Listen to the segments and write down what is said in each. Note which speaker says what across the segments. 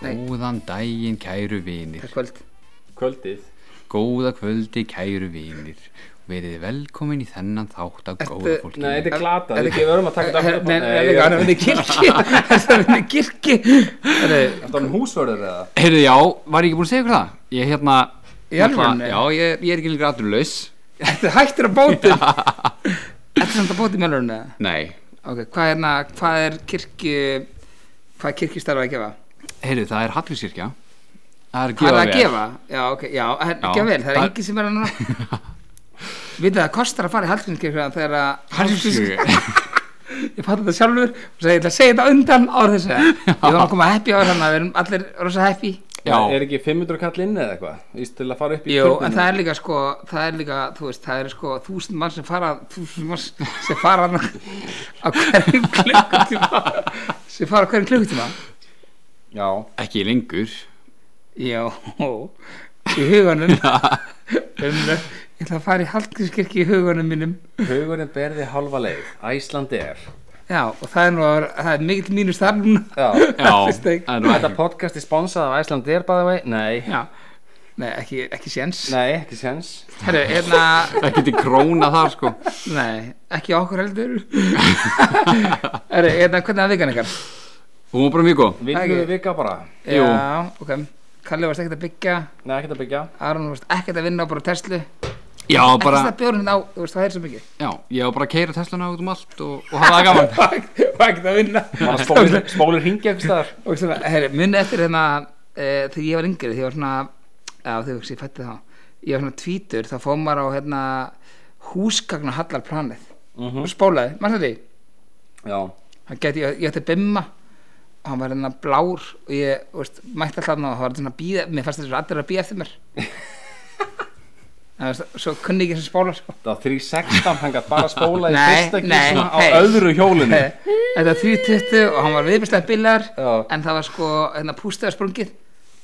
Speaker 1: Góðan daginn kæru vinir
Speaker 2: Það er kvöld
Speaker 3: Kvöldið
Speaker 1: Góða kvöldi kæru vinir Verið velkomin í þennan þátt af góða
Speaker 2: Ertu-
Speaker 1: fólki
Speaker 3: Nei, þetta
Speaker 2: Er-
Speaker 3: er glata,
Speaker 2: er-
Speaker 3: við ekki verðum að taka þetta
Speaker 2: Nei,
Speaker 3: Nei,
Speaker 2: er
Speaker 3: ég-
Speaker 2: það vinni kirkji Er það vinni kirkji Herru,
Speaker 3: Þetta er um húsvörður eða?
Speaker 1: Heyrðu, já, var ég ekki búin að segja ykkur það? Ég hérna
Speaker 2: Í alvörunni?
Speaker 1: Já, ég, ég er ekki lengur aturlaus
Speaker 2: Þetta er hættur á bótum Þetta er samt á bótum mjölurinn eða?
Speaker 1: Nei
Speaker 2: Ok, hvað er, na, hvað er kirkju Hvað er kirkjustarfa að gefa?
Speaker 1: Heyrðu, það er Hallgrímskirkja Það er að
Speaker 2: Hvað
Speaker 1: gefa
Speaker 2: er það að
Speaker 1: vel.
Speaker 2: gefa? Já, ok, já, her,
Speaker 1: Já,
Speaker 2: já vel, það er
Speaker 1: það-
Speaker 2: engin sem er að núna Vitið það kostar að fara í Hallgrímskirkjuna þegar að
Speaker 1: Hallgrímskirkja
Speaker 2: Ég fatt þetta sjálfur og segi, ég ætla að segja þetta undan á þessu Ég var að koma happy á þannig að við erum allir rosa happy
Speaker 1: Já,
Speaker 3: Er ekki 500 kall inn eða eitthvað? Íst til að fara upp í
Speaker 2: Jú, en
Speaker 3: turninn?
Speaker 2: það er líka sko, það er líka, þú veist, það er sko þúsund mann sem fara, þúsund mann sem fara á á hverjum klukkutíma, sem fara á hverjum klukkutíma.
Speaker 3: Já,
Speaker 1: ekki lengur
Speaker 2: Já, í huganum, um, ég ætla að fara í Hallgrímskirkju í huganum mínum.
Speaker 3: hugurinn berði halva leið Æslandi er
Speaker 2: Já, og það er nú, að, vera- það er mikill mínus þar núna.
Speaker 3: Já
Speaker 1: Já,
Speaker 2: Fyrst ekki.
Speaker 1: það er nú
Speaker 3: Þetta
Speaker 1: ekki
Speaker 3: podcast er sponsað af Æslandi er by the way Nei,
Speaker 2: Já, nei, ekki, ekki séns.
Speaker 3: nei, ekki sens
Speaker 2: Herru, hérna,
Speaker 1: Það geti króna þar sko
Speaker 2: nei, ekki okkur heldur. Herru, hérna, hvernig er vikan ykkar?
Speaker 1: Hún var bara mjög góð
Speaker 3: Vinnum
Speaker 2: Ekki.
Speaker 3: við vika bara
Speaker 1: Jú.
Speaker 2: Já, ok. Kalli varst ekkert að byggja.
Speaker 3: Nei, ekkert að byggja
Speaker 2: Aron, þú veist, ekkert að vinna á bara Tesla
Speaker 1: Já,
Speaker 2: Bara...
Speaker 1: bara,
Speaker 2: Ekkert að bjóra hérna á, þú veist, það er svo mikið
Speaker 1: já, ég var bara að keira Teslana út um allt og, og hafa það gaman
Speaker 2: Og ekkert að vinna
Speaker 3: Bara spólir, spólir hringi eitthvað staðar
Speaker 2: Og svona, herri, muni eftir hérna e, Þegar ég var yngri, þegar ég var svona Já, þegar ég fætti þá Ég var svona tvítur, þá fóð maður á hérna Húsgagn og hallar planið
Speaker 1: Mm.
Speaker 2: Og spólaði, maður þetta því
Speaker 3: Mhm. Já,
Speaker 2: Hann gæti, ég, ég ætti bimma Og hann var hérna blár Og ég, þú veist, mætti alltaf hann Og það var svona að býða, mér fannst þessu allir að býða eftir mér Það var svo- Svo kunni ég ekki sem spóla, sko
Speaker 3: það var 316 Hann gætt bara spóla í
Speaker 2: Nei,
Speaker 3: fyrsta
Speaker 2: nei,
Speaker 3: kísna á
Speaker 2: hey.
Speaker 3: öðru hjólinu
Speaker 2: Þetta var 320 og hann var viðbærslega bilar
Speaker 3: Já.
Speaker 2: en það var sko hérna, pústaða sprungið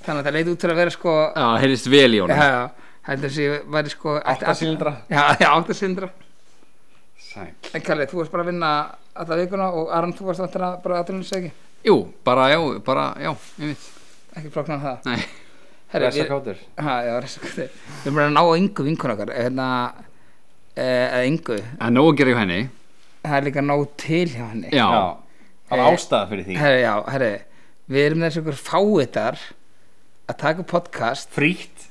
Speaker 2: þannig að það leiti út til að vera sko
Speaker 1: Já, heyrðist vel í honum
Speaker 2: ja, heldur þessi væri sko ætti all-
Speaker 3: Áttasýlindra
Speaker 2: Já, já, áttasýndra
Speaker 3: Sæl
Speaker 2: En Kalli, þú varst bara að vinna alla vikuna og Aron, þú varst náttúrulega bara aðtunum segi
Speaker 1: Jú, bara, já, bara, já, einmitt
Speaker 2: ekki flóknan það
Speaker 1: Nei,
Speaker 2: Herri,
Speaker 3: Ressa kátur
Speaker 2: ha, já, ressa kátur Við erum bara að ná að yngu vinkun okkar hérna, eh, eða yngu
Speaker 1: það er nóg að gera hjá henni
Speaker 2: það er líka nóg til hjá henni
Speaker 1: Já,
Speaker 3: Já, það var
Speaker 2: Hey.
Speaker 3: ástæða fyrir því
Speaker 2: Herri, já, herri Við erum þessi ykkur fáitar að taka podcast
Speaker 3: Frítt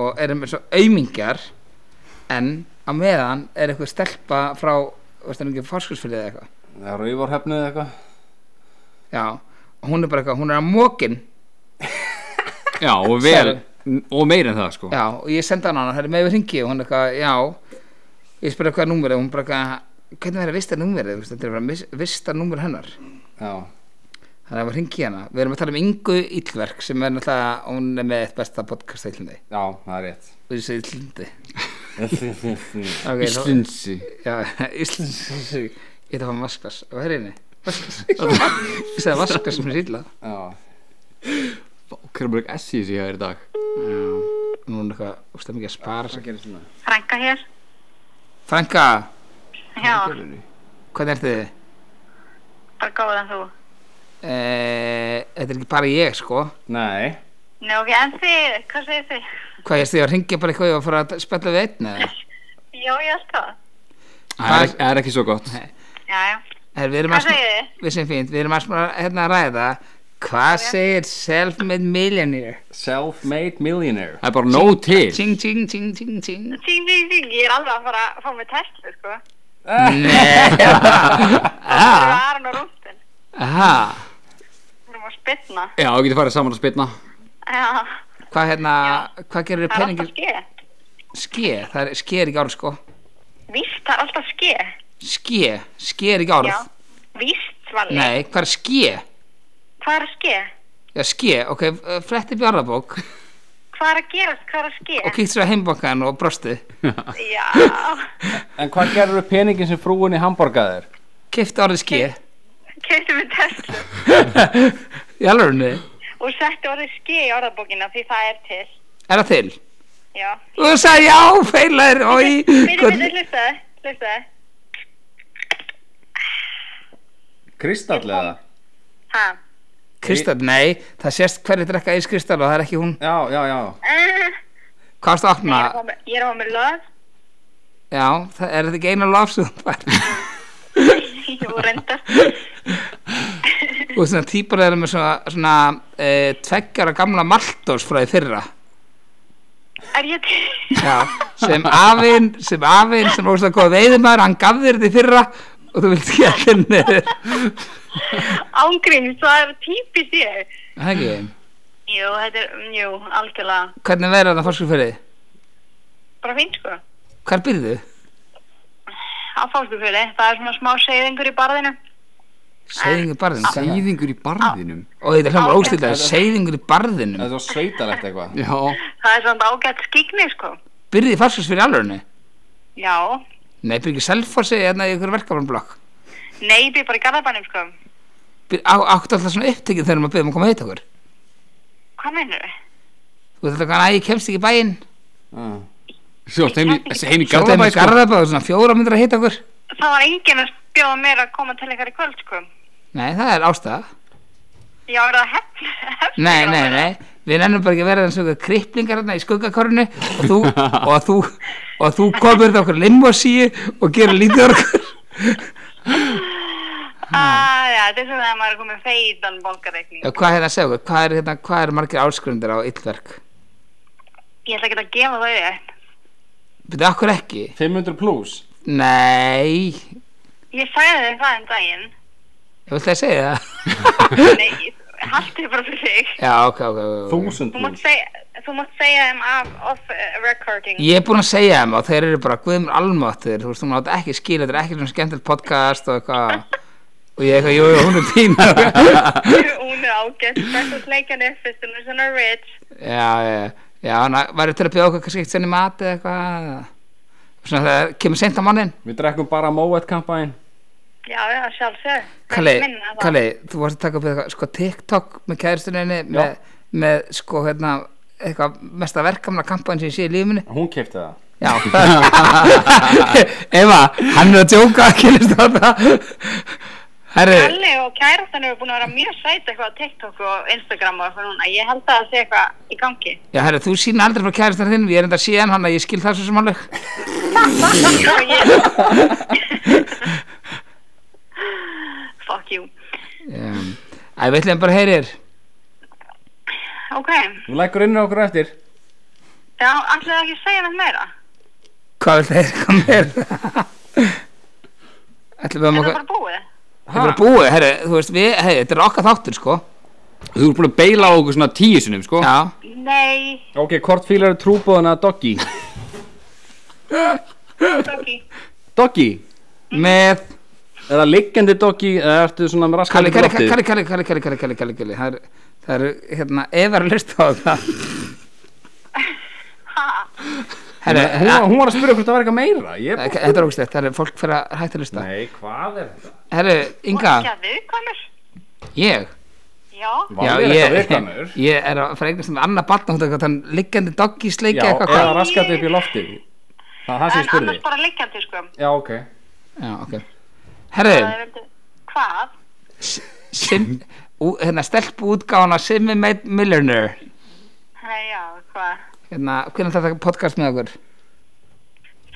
Speaker 2: og erum eins og aumingjar en á meðan er eitthvað stelpa frá veist það ekki forskursfylir eða eitthvað
Speaker 3: Það er rauvarhöfnu eða eitthvað
Speaker 2: já, og hún er bara eitthvað, hún er að mókin
Speaker 1: já, og vel Og meir en það sko
Speaker 2: já, og ég senda hann hana, það er með við ringi og hún er eitthvað, já ég spyrir hvað númerið, og hún bara eitthvað hvernig verður að vista númerið, þú veist, þetta er bara mis- vista númer hennar,
Speaker 3: Já,
Speaker 2: þannig að við ringi hana við erum að tala um Ingu Íllverk sem er náttúrulega, hún er með eitt besta podcast á Íllandi,
Speaker 3: já, það er rétt
Speaker 2: og ég segi Íllandi
Speaker 3: Ég
Speaker 2: okay, þá-
Speaker 1: Íslundsi
Speaker 2: Já, Íslands Ég ætla að fá maskvas á herrinni Maskvas Ég sagði maskvas sem er illa
Speaker 1: Hver er mörg S í þessu hjá þér í dag
Speaker 2: Nú er eitthvað, þú veist það mikið að spara sig
Speaker 4: Frænka hér.
Speaker 2: Franka,
Speaker 4: Já,
Speaker 2: hvernig ert þið?
Speaker 4: bara góð en þú.
Speaker 2: E, þetta er ekki bara ég sko
Speaker 3: Nei,
Speaker 4: Nei, ok, en þið, hvað segir þið?
Speaker 2: Hvað ég stið að ringja bara eitthvað og fara að spjalla við einn eða?
Speaker 4: Já, ég held það.
Speaker 1: Það er, það er ekki svo gott
Speaker 4: Já, já.
Speaker 2: Er, við erum
Speaker 4: Hvað
Speaker 2: að
Speaker 4: segir þið?
Speaker 2: Við sem fínt, við erum að smá hérna að ræða Hvað segir self-made millionaire?
Speaker 3: self-made millionaire
Speaker 1: Það er bara nóg til
Speaker 2: Ting, ting, ting, ting, ting
Speaker 4: Ting, ting, ting, ég er alveg að fara að fá mig testlu, sko.
Speaker 2: Nei
Speaker 4: Það er
Speaker 2: Aha,
Speaker 4: aðran og rúmpin.
Speaker 2: aha
Speaker 4: Við erum að spilna.
Speaker 1: Já, þú getur farið saman að spilna
Speaker 4: Já,
Speaker 2: Hvað hérna, hvað gerir
Speaker 4: það er
Speaker 2: peningir?
Speaker 4: alltaf ske.
Speaker 2: Ske, það er, ske er ekki orð sko
Speaker 4: Víst, það er alltaf ske.
Speaker 2: Ske, ske er ekki orð
Speaker 4: Já, víst, Valli.
Speaker 2: Nei, hvað er ske?
Speaker 4: Hvað er ske?
Speaker 2: Já, ske, ok, fletti bjarðabók
Speaker 4: hvað er að gerast, hvað er að ske?
Speaker 2: og kýtt sér að heimbankan og brosti
Speaker 4: Já,
Speaker 3: En hvað gerur peningin sem frúin í hamborgaðir?
Speaker 2: kifti orðið ski
Speaker 4: keftum við Tesla
Speaker 2: í alvörunni,
Speaker 4: og settu orðið ske í orðabókina því það er til.
Speaker 2: er það til
Speaker 4: Já.
Speaker 2: og þú sagði já, feilaðir
Speaker 4: Byrju, byrju,
Speaker 2: og
Speaker 4: hlustaði, hlustaði.
Speaker 3: Kristall eða?
Speaker 4: Ha?
Speaker 2: Kristall, nei, það sést hverju drekka eins Kristall og það er ekki hún
Speaker 3: Já, já, já.
Speaker 4: Uh,
Speaker 2: hvað varstu að
Speaker 4: ég
Speaker 2: opna,
Speaker 4: er að fá með- ég er að fá með löð.
Speaker 2: já, það er þetta ekki eina lofsugum
Speaker 4: Jú, reyndar.
Speaker 2: og svona típar þeirra með svona, svona e, tveggjara gamla Maltós frá því fyrra
Speaker 4: Er ég til?
Speaker 2: Já, sem afinn sem afinn sem óslega góð veiðumæður hann gaf þér því fyrra og þú vilt ekki að henni
Speaker 4: Ángríms, það er típist ég.
Speaker 2: Hegi,
Speaker 4: Jú, þetta er, mm, jú, algjörlega.
Speaker 2: hvernig verður það fórskur fyrir
Speaker 4: Bara fínt, sko.
Speaker 2: hvar byrðu?
Speaker 4: Á fólkufjöli, það er svona smá segðingur í barðinu.
Speaker 2: Seyðingur í barðinum
Speaker 1: Seyðingur í barðinum
Speaker 2: og þetta er hljóma óslega, seyðingur í barðinum
Speaker 3: Þetta var sveitalegt eitthvað.
Speaker 1: Já,
Speaker 4: Það er svona ágætt skikni, sko.
Speaker 2: byrði fórskur fyrir alvörinu
Speaker 4: Já.
Speaker 2: nei, byrði ekki selfossi eða í ykkur verkafanblokk
Speaker 4: Nei, ég byrði bara í garðabænum, sko.
Speaker 2: áttu alltaf svona upptekið þegar maður byrðum að koma að heita okkur
Speaker 4: Hvað mennur þau?
Speaker 2: þú veist alltaf að ég kemst ekki í bæinn
Speaker 3: Ah.
Speaker 1: svo heim, í- þessi heim í
Speaker 2: svo þeim í
Speaker 1: Garðabæ sko.
Speaker 2: Garðabæð og svona fjóra myndir að heita okkur
Speaker 4: Það var enginn að bjóða mér að koma til ykkar í kvöld, sko.
Speaker 2: nei, það er ástæða
Speaker 4: Já, er það hefn? hefn
Speaker 2: Nei, nei, nei, við nennum bara ekki að vera eins og eitthvað kripplingar hérna í skuggakorinu og þú, og þú, og þú komur þetta okkur limosíu og gerir lítið úr okkur.
Speaker 4: Ah, já, þetta er svona að maður er komið feitan bólkareikning.
Speaker 2: Já, hvað er það að segja okkur? Hvað er, hérna, hvað er margir áskrundir á yllverk?
Speaker 4: Ég ætla ekki að gefa þau upp.
Speaker 2: Byrðu okkur ekki?
Speaker 3: 500 pluss.
Speaker 2: Nei, ég
Speaker 4: Ég sagði þeim það um daginn.
Speaker 2: vilt að segja það.
Speaker 4: Nei, haltu þið bara fyrir þig.
Speaker 2: Já, ok, ok, ok. ok.
Speaker 3: 1000
Speaker 4: Þú mátt
Speaker 3: pluss.
Speaker 4: segja, þú mátt segja þeim af off eh, recording.
Speaker 2: Ég er búin að segja þeim og þeir eru bara guðmur almáttir, þú veist, hún átt ekki skýra, þetta er ekki svona skemmtilegt podcast og eitthvað. Og ég eitthvað, jú, jú, hún er pín.
Speaker 4: Hún er ágætt, best að sleika nefnist, hún er svona rich.
Speaker 2: Já, já, já, já, hann væri til að bjóða okkur kannski eitt senni mat eða eitthvað eða- Svona það kemur seint á mannin
Speaker 3: Við drekkum bara Moet-kampæn.
Speaker 4: Já, já, sjálfsög.
Speaker 2: Kalli,
Speaker 4: Minna það.
Speaker 2: Kalli, þú varst að taka upp eitthvað, sko, TikTok með kæðustuninni með, með, sko, hérna, eitthvað mesta verkamna kampan sem ég sé í lífinu
Speaker 3: Hún kefti það.
Speaker 2: Já Eva, hann er að djóka, kynist þetta Herri,
Speaker 4: Kalli og kærastan eru búin að vera mjög sæt eitthvað á TikTok og Instagram og eitthvað núna. Ég held að það sé eitthvað í gangi.
Speaker 2: já, herri, þú sína aldrei frá kæðustuninn þinn, ég er enda síðan hann að ég skil það svo sem alveg
Speaker 4: Og ég- Fuck you.
Speaker 2: um, Æ, við ætlum bara að heyri þér
Speaker 4: Ok,
Speaker 3: Þú lækur inn á okkur á eftir.
Speaker 4: já, ætlaðu ekki að segja neitt meira?
Speaker 2: Hvað vil þeir koma meira? Ætlum við um að
Speaker 4: Er það
Speaker 2: maður
Speaker 4: bara búið?
Speaker 2: Þetta er bara búið, herri, þú veist, við, hei, þetta er okkar þáttur, sko
Speaker 1: Þú ert búin að beila á okkur svona tíu sinum sko.
Speaker 2: Já,
Speaker 4: Nei,
Speaker 3: Ok, hvort fílar er trúbóðan að Doggy?
Speaker 4: Doggy.
Speaker 3: Doggy?
Speaker 2: með
Speaker 3: Er það liggjandi Doggy eða ertu svona með
Speaker 2: Kalli,
Speaker 3: raskandi
Speaker 2: Kalli, Kalli, Kalli, Kalli, Kalli, Kalli, Kalli, Kalli, Kalli, Kalli Það eru, það eru, hérna, ef er að hlusta á það
Speaker 4: Ha,
Speaker 2: Herri,
Speaker 3: Hún, var- hún var að spyrja hvort það var eitthvað meira.
Speaker 2: eh,
Speaker 3: Ég...
Speaker 2: Hérna, þetta er ógstætt, það eru fólk fyrir að hætta að hlusta
Speaker 3: Nei, hvað er þetta?
Speaker 2: Herri, Inga,
Speaker 4: ekki að viðkvæmur?
Speaker 2: ég
Speaker 4: Já,
Speaker 3: Vá,
Speaker 2: Já,
Speaker 3: er eitthvað
Speaker 2: ég,
Speaker 3: viðkvæmur.
Speaker 2: ég er að fara eignast með annað batna hún þannig hann liggjandi doggi
Speaker 3: Já,
Speaker 2: sleiki eitthvað
Speaker 3: eða
Speaker 2: hvað
Speaker 3: raskandi upp í loftið. Það er það sem
Speaker 4: en
Speaker 3: ég spurði.
Speaker 4: annars bara liggjandi, sko.
Speaker 3: Já, ok.
Speaker 2: Já, ok Herri,
Speaker 4: Það er veldig- Hvað?
Speaker 2: sim, ú, hérna, stelpu útgána Simmi Made Millionaire
Speaker 4: Hei, já, hvað?
Speaker 2: hérna, hvernig þetta podcast með okkur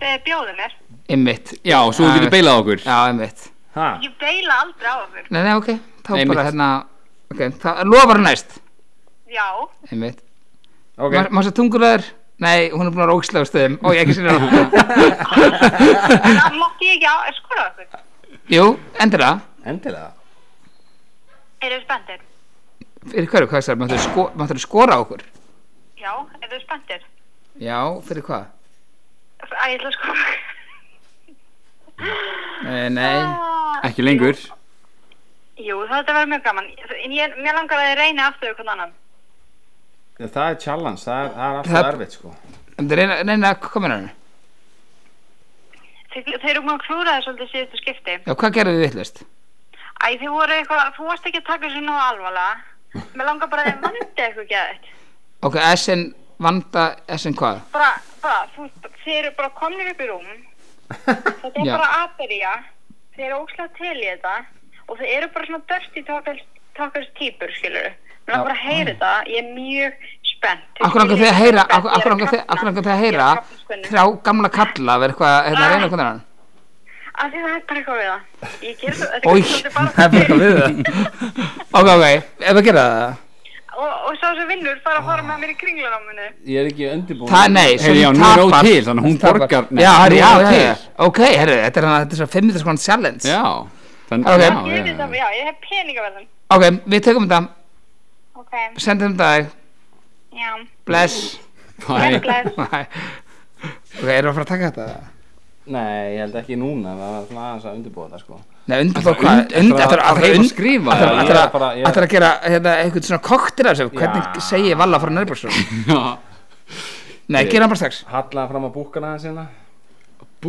Speaker 4: Þið bjóðu mér.
Speaker 2: einmitt,
Speaker 1: Já, svo þú getur beilað á okkur
Speaker 2: já einmitt
Speaker 3: Ha,
Speaker 4: Ég beila aldrei á okkur.
Speaker 2: nei, nei, ok, þá
Speaker 1: Einmitt.
Speaker 2: bara hérna ok, það lofar næst
Speaker 4: Já,
Speaker 2: einmitt,
Speaker 3: ok.
Speaker 2: okay. maður sér tungulegur nei, hún er búin að rókslega á stöðum og ég ekki sinna
Speaker 4: en
Speaker 2: hana.
Speaker 4: það mátti ég ekki á, skoða okkur.
Speaker 2: jú, endilega
Speaker 3: Endilega.
Speaker 4: Eru þið spenntir?
Speaker 2: fyrir hverju, hvað sér, maður sko, máttu skora á okkur
Speaker 4: Já, eru þið spenntir?
Speaker 2: já, fyrir hvað
Speaker 4: Æ, ég ætla að skoða okkur.
Speaker 2: nei, nei,
Speaker 4: Ah.
Speaker 1: Ekki lengur
Speaker 4: Jú, þetta verður mjög gaman. En ég, mér langar að þið reyni aftur ykkur annan.
Speaker 3: Já, það er challenge, það er, það er alltaf
Speaker 2: Það-
Speaker 3: erfitt sko
Speaker 2: En það reyna, reyna að koma inn á henni.
Speaker 4: Þeir, þeir eru búin að klúra þess svolítið síðustu skipti.
Speaker 2: Já, hvað gerðum við vittlust?
Speaker 4: Æ, þið voru eitthvað, þú varst ekki að taka þessu nú alvarlega. Mér langar bara að þið vandi eitthvað geðið.
Speaker 2: Ok, SN vanda, SN hvað?
Speaker 4: Bara, bara, þú, þið eru bara komnir upp í rúm. Þetta er
Speaker 2: Já.
Speaker 4: bara að byrja. Þið eru ókslega til í þetta. Og þið eru bara svona dörsti takkars típur, skilur. Mér langar bara að heyra þetta. Ég er mjög spennt. Þið
Speaker 2: Akkur langar
Speaker 4: skiljið
Speaker 2: þið að
Speaker 4: ekki
Speaker 2: heyra,
Speaker 4: spennt,
Speaker 2: akkur
Speaker 4: ég er
Speaker 2: akkur langar þið akkur langar þið að heyra
Speaker 4: Ég er krabbameinskunni.
Speaker 2: þrjá gamla kalla verið eitthvað, hérna, reyna eitthvað annan.
Speaker 4: Af því það er bara eitthvað við það. Ég ger þetta
Speaker 2: Oj,
Speaker 4: er svolítið bara-
Speaker 2: það er bara eitthvað við það. Ok, ok, ef við gera það.
Speaker 4: Og, og sá sem vinnur fara að fara með mér í kringlanáminu.
Speaker 3: Ég er ekki undirbúin
Speaker 2: Það, nei, svo
Speaker 1: Heyrðu, já,
Speaker 2: hún
Speaker 1: nú er nóg
Speaker 2: tapar-
Speaker 1: til, þannig að hún
Speaker 2: tapar.
Speaker 1: borgar- nei,
Speaker 2: Já, herri,
Speaker 1: nú er
Speaker 2: já,
Speaker 1: nóg
Speaker 2: já,
Speaker 1: til.
Speaker 2: já, ok, herri, þetta er hann þetta er svo 500 skrónan challenge.
Speaker 1: Já, þannig
Speaker 2: Ok.
Speaker 1: já,
Speaker 4: Ég veit
Speaker 1: já,
Speaker 4: það, já, ég hef peningaverðin.
Speaker 2: Ok, við tökum þetta,
Speaker 4: Ok,
Speaker 2: sendum þetta þig,
Speaker 4: já.
Speaker 2: bless.
Speaker 1: Bye.
Speaker 4: Bless.
Speaker 2: Nei. ok, erum við að fara að taka þetta?
Speaker 3: Nei, ég held ekki núna, það var svona aðeins að undirbúa það sko
Speaker 2: Nei, undir þá hvað?
Speaker 1: und-
Speaker 2: Undir
Speaker 1: ætlarðu
Speaker 2: þá
Speaker 1: að- ætlarðu að
Speaker 2: að
Speaker 1: skrifa
Speaker 2: Það
Speaker 1: það?
Speaker 3: Ég
Speaker 2: er
Speaker 3: er bara- ég-
Speaker 2: að að gera hérna, eitthvað svona koktir af þessu Hvernig
Speaker 3: Já.
Speaker 2: segi ég Valla frá Nörbjörnsson?
Speaker 1: Já.
Speaker 2: Nei, gera hann bara strax
Speaker 3: Halla fram að búkana hans hérna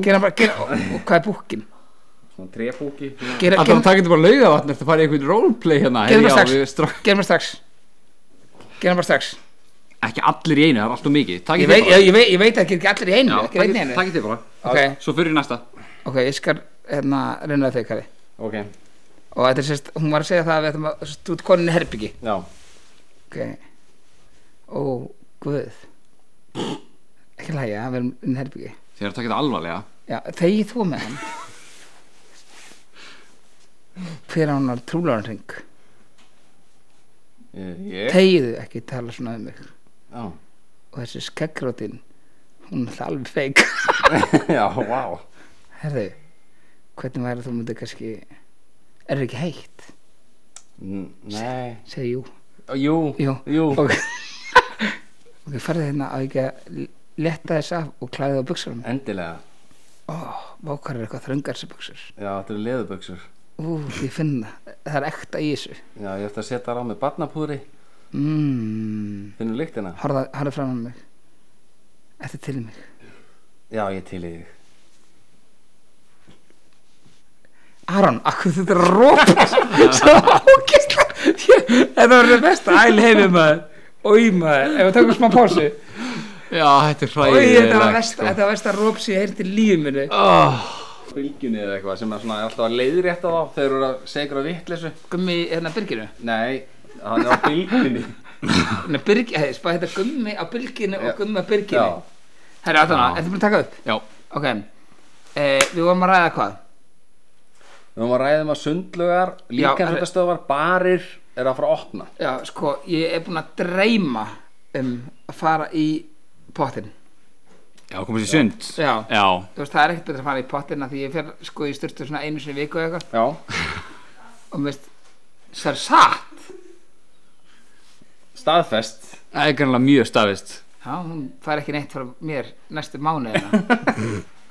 Speaker 2: Gera hann bara, gera, og og hvað er búkkin?
Speaker 3: Svona trefúki svona.
Speaker 2: Gera
Speaker 1: Alltaf
Speaker 2: gera-
Speaker 1: taka þetta bara laugavatn eftir að fara í einhvern roleplay hérna
Speaker 2: gera hann
Speaker 1: Heyrðu,
Speaker 2: bara
Speaker 1: já, við
Speaker 2: strax
Speaker 1: strá-
Speaker 2: Gera hann bara strax Gera hann bara strax
Speaker 1: Ekki allir í einu, það er alltaf mikið
Speaker 2: Ég
Speaker 1: Takið
Speaker 2: veit,
Speaker 1: þið
Speaker 2: ég,
Speaker 1: bara
Speaker 2: ég veit, ég veit að gera ekki allir í einu
Speaker 1: Já,
Speaker 2: Gera einn í
Speaker 1: takið-
Speaker 2: einu
Speaker 1: Takið þið bara
Speaker 2: Ok,
Speaker 1: Svo fyrir í næsta
Speaker 2: ok, ég skal hérna reyna þig, Kari
Speaker 3: Ok,
Speaker 2: Og þetta er sérst, hún var að segja það að við ætlum að þú ert konin í herbyggi
Speaker 3: já
Speaker 2: Ok Ó, guð Ekki lægja, við erum inn í herbyggi
Speaker 1: Þið er að taka þetta alvarlega
Speaker 2: Já, þegi þú með hann Fyrir hann að trúlaran ring
Speaker 3: Eh, Ég
Speaker 2: Þegiðu ekki tala svona um mig
Speaker 3: Já,
Speaker 2: Og þessi skeggrótin Hún er alltaf alveg feik
Speaker 3: já, vá
Speaker 2: Herðu, hvernig væri að þú myndir kannski Er það ekki heitt?
Speaker 3: N- Nei
Speaker 2: Segðu jú,
Speaker 3: Jú,
Speaker 2: jú
Speaker 3: jú
Speaker 2: Ok, okay farðu hérna á ekki að letta þess af og klæða á buxurum
Speaker 3: Endilega
Speaker 2: Ó, vákar er eitthvað þröngar sem buxur
Speaker 3: Já, þetta eru leðuböksur
Speaker 2: Ú, ég finn það, það er ekta í þessu
Speaker 3: Já, ég ætti að setja þar á með barnapúðri
Speaker 2: Mmm
Speaker 3: Finnur lyktina?
Speaker 2: Horða, horða fram á mig Þetta til mig
Speaker 3: Já, ég til í þig
Speaker 2: Aron, akkur þetta er að rópa svo- Svo ákistla Þetta var það besta æl heimi maður Ói maður, ef við tökum smá pásu
Speaker 1: Já, þetta er
Speaker 2: Ói, þetta var
Speaker 1: hræðilegt,
Speaker 2: besta, þetta var besta róp sem ég heyrti í lífi minni
Speaker 3: Bylgjunni eða eitthvað sem er svona alltaf að leiðrétta þá þegar þú eru að segra vittlesu
Speaker 2: Gummi, hérna Byrginu
Speaker 3: Nei, hann er á bylgjunni
Speaker 2: Nei, Byrg, hei, spá hérna Gummi á Byrginu og Gummi á Byrginu
Speaker 3: Já.
Speaker 2: Herra, átana, þetta er búin að taka upp
Speaker 1: Já,
Speaker 2: Ok, eh, við vorum að ræða hvað
Speaker 3: Við höfum að ræðum að sundlugar,
Speaker 2: Já,
Speaker 3: líkanhundastöðvar, barir er að fara að opna.
Speaker 2: Já, sko, ég er búin að dreyma um að fara í pottin
Speaker 1: já, komast í sund
Speaker 2: Já.
Speaker 1: Já,
Speaker 2: Þú veist, það er ekkert betra að fara í pottin af því ég fer sko í styrtu svona einu sinni í viku eða eitthvað
Speaker 3: Já,
Speaker 2: og mér veist það er satt
Speaker 3: staðfest.
Speaker 1: það er grannlega mjög stafist
Speaker 2: já, hún fær ekki neitt frá mér næstu mánuðina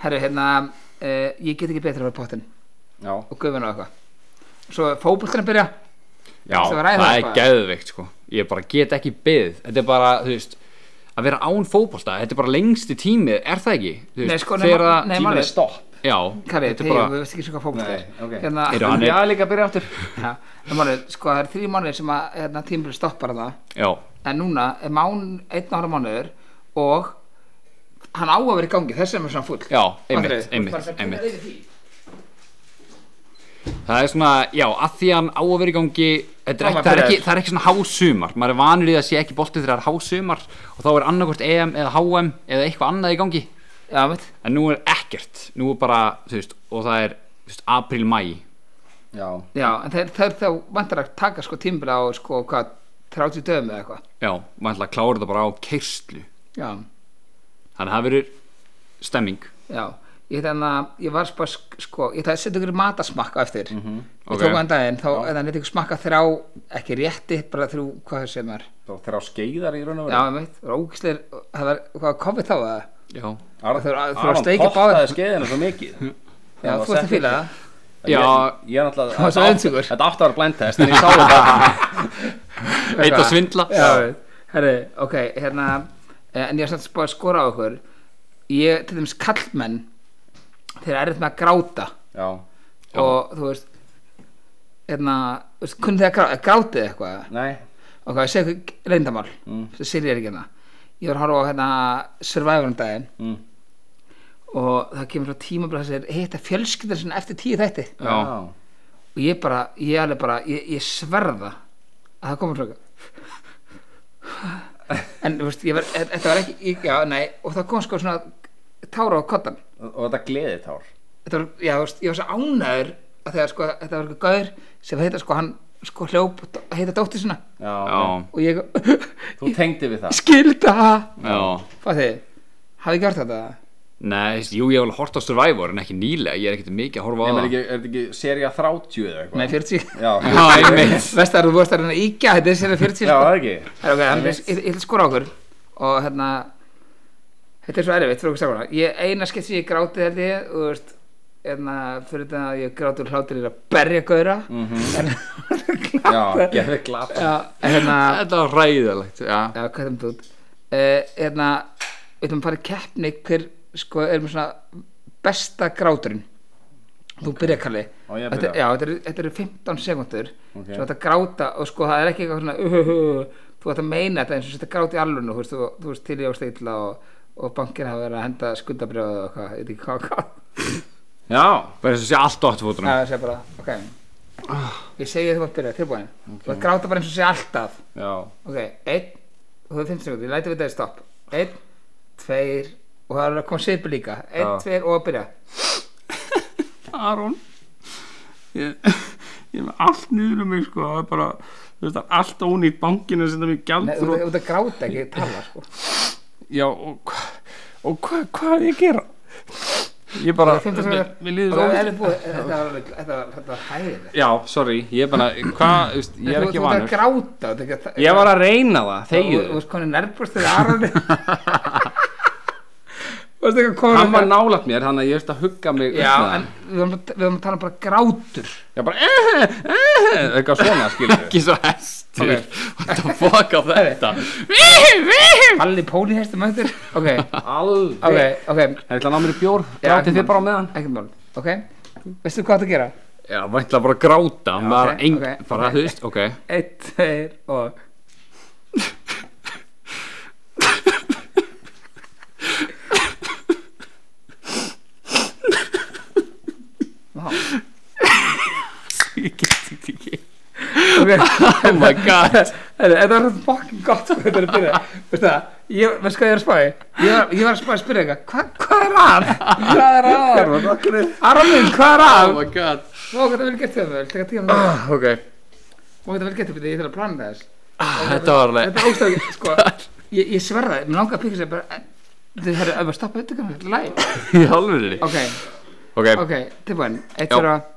Speaker 2: herru, hérna uh, ég get ekki betra að vera pottin
Speaker 3: Já,
Speaker 2: og gufin og eitthvað svo er fótboltin að byrja
Speaker 1: Já,
Speaker 2: Varstu að
Speaker 1: það
Speaker 2: ræða
Speaker 1: er
Speaker 2: eitthvað?
Speaker 1: geðveikt sko Ég bara get ekki byggð Þetta er bara, þú veist Að vera án fótbolta, þetta er bara lengsti tími Er það ekki? Þú veist,
Speaker 2: Nei, sko,
Speaker 1: þegar
Speaker 2: nema-
Speaker 1: að-
Speaker 2: nei,
Speaker 3: tíminn
Speaker 2: málið-
Speaker 3: er stopp.
Speaker 1: Já,
Speaker 2: Kari,
Speaker 1: þetta er
Speaker 2: þegar bara... við
Speaker 1: bara
Speaker 2: veist ekki svo hvað fótbolti
Speaker 3: Nei, ok.
Speaker 2: er hérna,
Speaker 1: Eru hann-
Speaker 3: Já, líka að byrja aftur.
Speaker 2: já, en málið, sko, það er þrjú mánuðir sem að hérna, tímur stoppar það
Speaker 1: Já,
Speaker 2: en núna er mán, einn og ára mánuður og hann á að vera í gangi þess vegna er svona full
Speaker 1: já,
Speaker 2: Fattarðu?
Speaker 1: einmitt,
Speaker 2: Þú ert
Speaker 1: einmitt,
Speaker 2: bara að
Speaker 1: einmitt
Speaker 2: gera yfir því.
Speaker 1: Það er svona, já, að því hann á að vera í gangi þetta er
Speaker 2: Já,
Speaker 1: ekki,
Speaker 2: maður
Speaker 1: það, er
Speaker 2: byrjar.
Speaker 1: ekki, það er ekki svona hásumar maður er vanur í að sé ekki boltið þegar það er hásumar og þá er annarkvort EM eða HM eða eitthvað annað í gangi
Speaker 2: já, veit
Speaker 1: en nú er ekkert, nú er bara, þú veist og það er, þú veist, april-mæ
Speaker 3: Já,
Speaker 2: Já, en þeir, þeir þá vantar að taka sko tímbila á sko hvað 30 dögum eða eitthvað
Speaker 1: já, maður ætla að klára þetta bara á keirslu
Speaker 2: Já,
Speaker 1: þannig að það verður stemming
Speaker 2: já Ég, þannig að ég var spá sk- sko ég ætla að setja ykkur í matasmakk á eftir
Speaker 1: Mhm, ok.
Speaker 2: ég tók hann daginn, þá er það neitt ykkur smakka þrjá ekki rétti, bara þrjú, hvað sem er
Speaker 3: þá þrjá skeiðar í raun og
Speaker 2: já,
Speaker 3: veru.
Speaker 2: ég veit, rókisleir, það var hvað COVID þá að það,
Speaker 1: já,
Speaker 3: Ar-
Speaker 2: Þeir- þeir
Speaker 3: Aron
Speaker 2: steikja báðir.
Speaker 3: pottaði skeiðina svo mikið.
Speaker 2: já,
Speaker 3: Þegar hann var
Speaker 2: þú ert að
Speaker 3: settur.
Speaker 2: fíla það
Speaker 1: Já.
Speaker 3: Ég, ég er náttúrulega...
Speaker 2: Það var svo
Speaker 3: þetta átti-
Speaker 2: auðsugur.
Speaker 3: Þetta átti að vera blindtest, en ég sá þetta.
Speaker 1: eitt að svindla
Speaker 2: já, ég veit. Herri, ok, hérna eh, En ég er samt bara að skora á okkur Ég, til dæmis kallmenn Þeir eru með að gráta
Speaker 3: Já,
Speaker 2: Og þú veist Hérna, þú veist, kunni þeir að gráta Grátið eitthvað
Speaker 3: nei
Speaker 2: Ok, ég segi ykkur reyndamál
Speaker 3: Mm.
Speaker 2: Það sér ég ekki hérna Ég var að horfa á hérna Survivor um daginn
Speaker 3: mm.
Speaker 2: Og það kemur svo tíma bara þessir Hitta fjölskyldan sinna eftir tíu þætti
Speaker 1: Já.
Speaker 2: og ég bara, ég alveg bara ég, ég sverða að það komur svona en þú veist, ég var, en- þetta var ekki ég, já, nei, og það kom sko svona tára á kottan
Speaker 3: Og, og þetta gleðitár
Speaker 2: þetta var, já, þú veist, ég var svo ánæður að þegar sko, þetta var eitthvað gaur sem heita sko, hann sko hljóp að heita dóttir sinna
Speaker 3: Já,
Speaker 1: Já,
Speaker 2: og ég,
Speaker 3: Þú tengdi við
Speaker 2: ég
Speaker 3: það
Speaker 2: skilda
Speaker 1: já
Speaker 2: hvað þið, hafið þið gert þetta
Speaker 1: Nei, þú veist, jú, ég hef alveg hort á Survivor en ekki nýlega, ég er ekkert mikið að horfa á
Speaker 3: Nei, menn
Speaker 1: það
Speaker 3: ekki, er þetta ekki seria 30 eða eitthvað?
Speaker 2: nei, 40
Speaker 3: Já,
Speaker 1: Já, einmitt
Speaker 2: Vest að þú vorst að reyna að íkja þetta er sér að 40
Speaker 3: já,
Speaker 2: sko.
Speaker 3: það er ekki
Speaker 2: Það er ok, þannig að ég- ég ætla að skora á okkur og hérna þetta er svo erfitt fyrir okkur strákana ég eina skemmt sem ég gráti held ég og þú veist, hérna, fyrir þetta að ég gráti úr hlátur er að berja gauðra mm -hmm.
Speaker 3: Já, gefið glatt
Speaker 2: já, en hérna
Speaker 1: Þetta var ræðilegt, já
Speaker 2: já, hvað er það um þú uh, hérna, við ætlum að fara í keppni hver, sko, erum svona besta gráturinn þú okay. byrja Kalli
Speaker 3: Á ég að
Speaker 2: þetta,
Speaker 3: byrja?
Speaker 2: já, þetta, eru, þetta eru 15 sekundur
Speaker 3: Ok.
Speaker 2: sem þetta gráta og sko það er ekki eitthvað svona uh, uh, uh, þú ætti að meina þetta eins og þetta gráti allur þú veist, þú, þú veist til ég á steitla og, og bankin hafa verið að henda skuldabrjóðu og hvað, ég veit ekki hvað, hvað
Speaker 3: Já,
Speaker 1: Bara þess að sé allt átt
Speaker 3: Mm.
Speaker 2: Já,
Speaker 1: fótunum
Speaker 2: það sé bara, ok
Speaker 3: Ah.
Speaker 2: ég segi að þú mátt byrja, tilbúin þú ætti að gráta bara eins og sé alltaf
Speaker 3: já,
Speaker 2: Ok, einn, þú hefur 5 sekundir, ég læti við þetta í stopp Einn, tveir, og það er að koma svipur líka Einn,
Speaker 3: Já.
Speaker 2: tveir og að byrja
Speaker 5: Aron ég, ég er með allt niður um mig sko, það er bara þú veist, það er allt ónýtt bankinu sem það mér
Speaker 2: Nei,
Speaker 5: gjald
Speaker 2: þú ert- þú ert að gráta ekki, tala sko
Speaker 5: já, og hvað og hva, hvað er ég að gera ég bara,
Speaker 2: Það er
Speaker 5: mér,
Speaker 2: 15 sekundir.
Speaker 5: mér líður
Speaker 2: Ok,
Speaker 5: svo
Speaker 2: er þið búið- Þetta var alveg- þetta var- þetta var hæðilegt
Speaker 1: Já, sorry, ég er bara, hvað, þú veist, ég er
Speaker 2: Þú-
Speaker 1: ekki
Speaker 2: Þú ert að
Speaker 1: vanur
Speaker 2: gráta þú ert ekki að-
Speaker 1: Ég var að reyna það,
Speaker 2: Þú-
Speaker 1: þegiðu
Speaker 2: Þú ert konið nærbúst þegar Aron Þú ert ekki að koma
Speaker 3: hann var nálat mér, þannig að ég ert að hugga mig upp
Speaker 2: Já,
Speaker 3: með það.
Speaker 2: en við höfum að- við höfum að tala um bara grátur
Speaker 3: Já, bara eh, eh, Eitthvað svona, skilur við
Speaker 1: Ekki svo hestur What the fuck á þetta
Speaker 2: Palli pólihestum eftir Ok,
Speaker 3: Alveg
Speaker 2: ok,
Speaker 3: okay.
Speaker 2: ok,
Speaker 3: Það ætla að ná mér í bjór
Speaker 2: Já,
Speaker 3: Grátið þið bara á meðan
Speaker 2: ekkert mál Ok, veistu hvað það að gera?
Speaker 1: Já, væntla bara að gráta Já, bara
Speaker 2: ok,
Speaker 1: eng,
Speaker 2: ok,
Speaker 1: bara,
Speaker 2: ok.
Speaker 1: þú veist, ok
Speaker 2: Einn, tveir og Vá,
Speaker 5: ég get þetta ekki
Speaker 2: ok
Speaker 1: Oh my god
Speaker 2: Heyrðu, Þetta var fucking gott sko þetta er að byrja Veistu það, ég, veistu hvað ég er að spáði Ég var, ég var að spáði að spyrja eitthvað Hva, Hvað er að? Hvað er að? Oh Aron minn, hvað er
Speaker 5: Oh
Speaker 2: að?
Speaker 1: my god
Speaker 2: Vá, hvað það vel gett hjá mér, teka tíma mér
Speaker 1: Ok
Speaker 2: Vá, hvað það vel gett hjá mér, ég þarf að plana þess
Speaker 1: Ah, Þetta var alveg
Speaker 2: Þetta er óstæðið, sko Ég, ég sverða, mér langar að píkja sér bara eh, Þetta er að stoppa þetta kannar, þetta er læg
Speaker 1: í halvöðinni
Speaker 2: Ok,
Speaker 1: Ok,
Speaker 2: ok, tilbúin Eitt
Speaker 1: Já.
Speaker 2: er að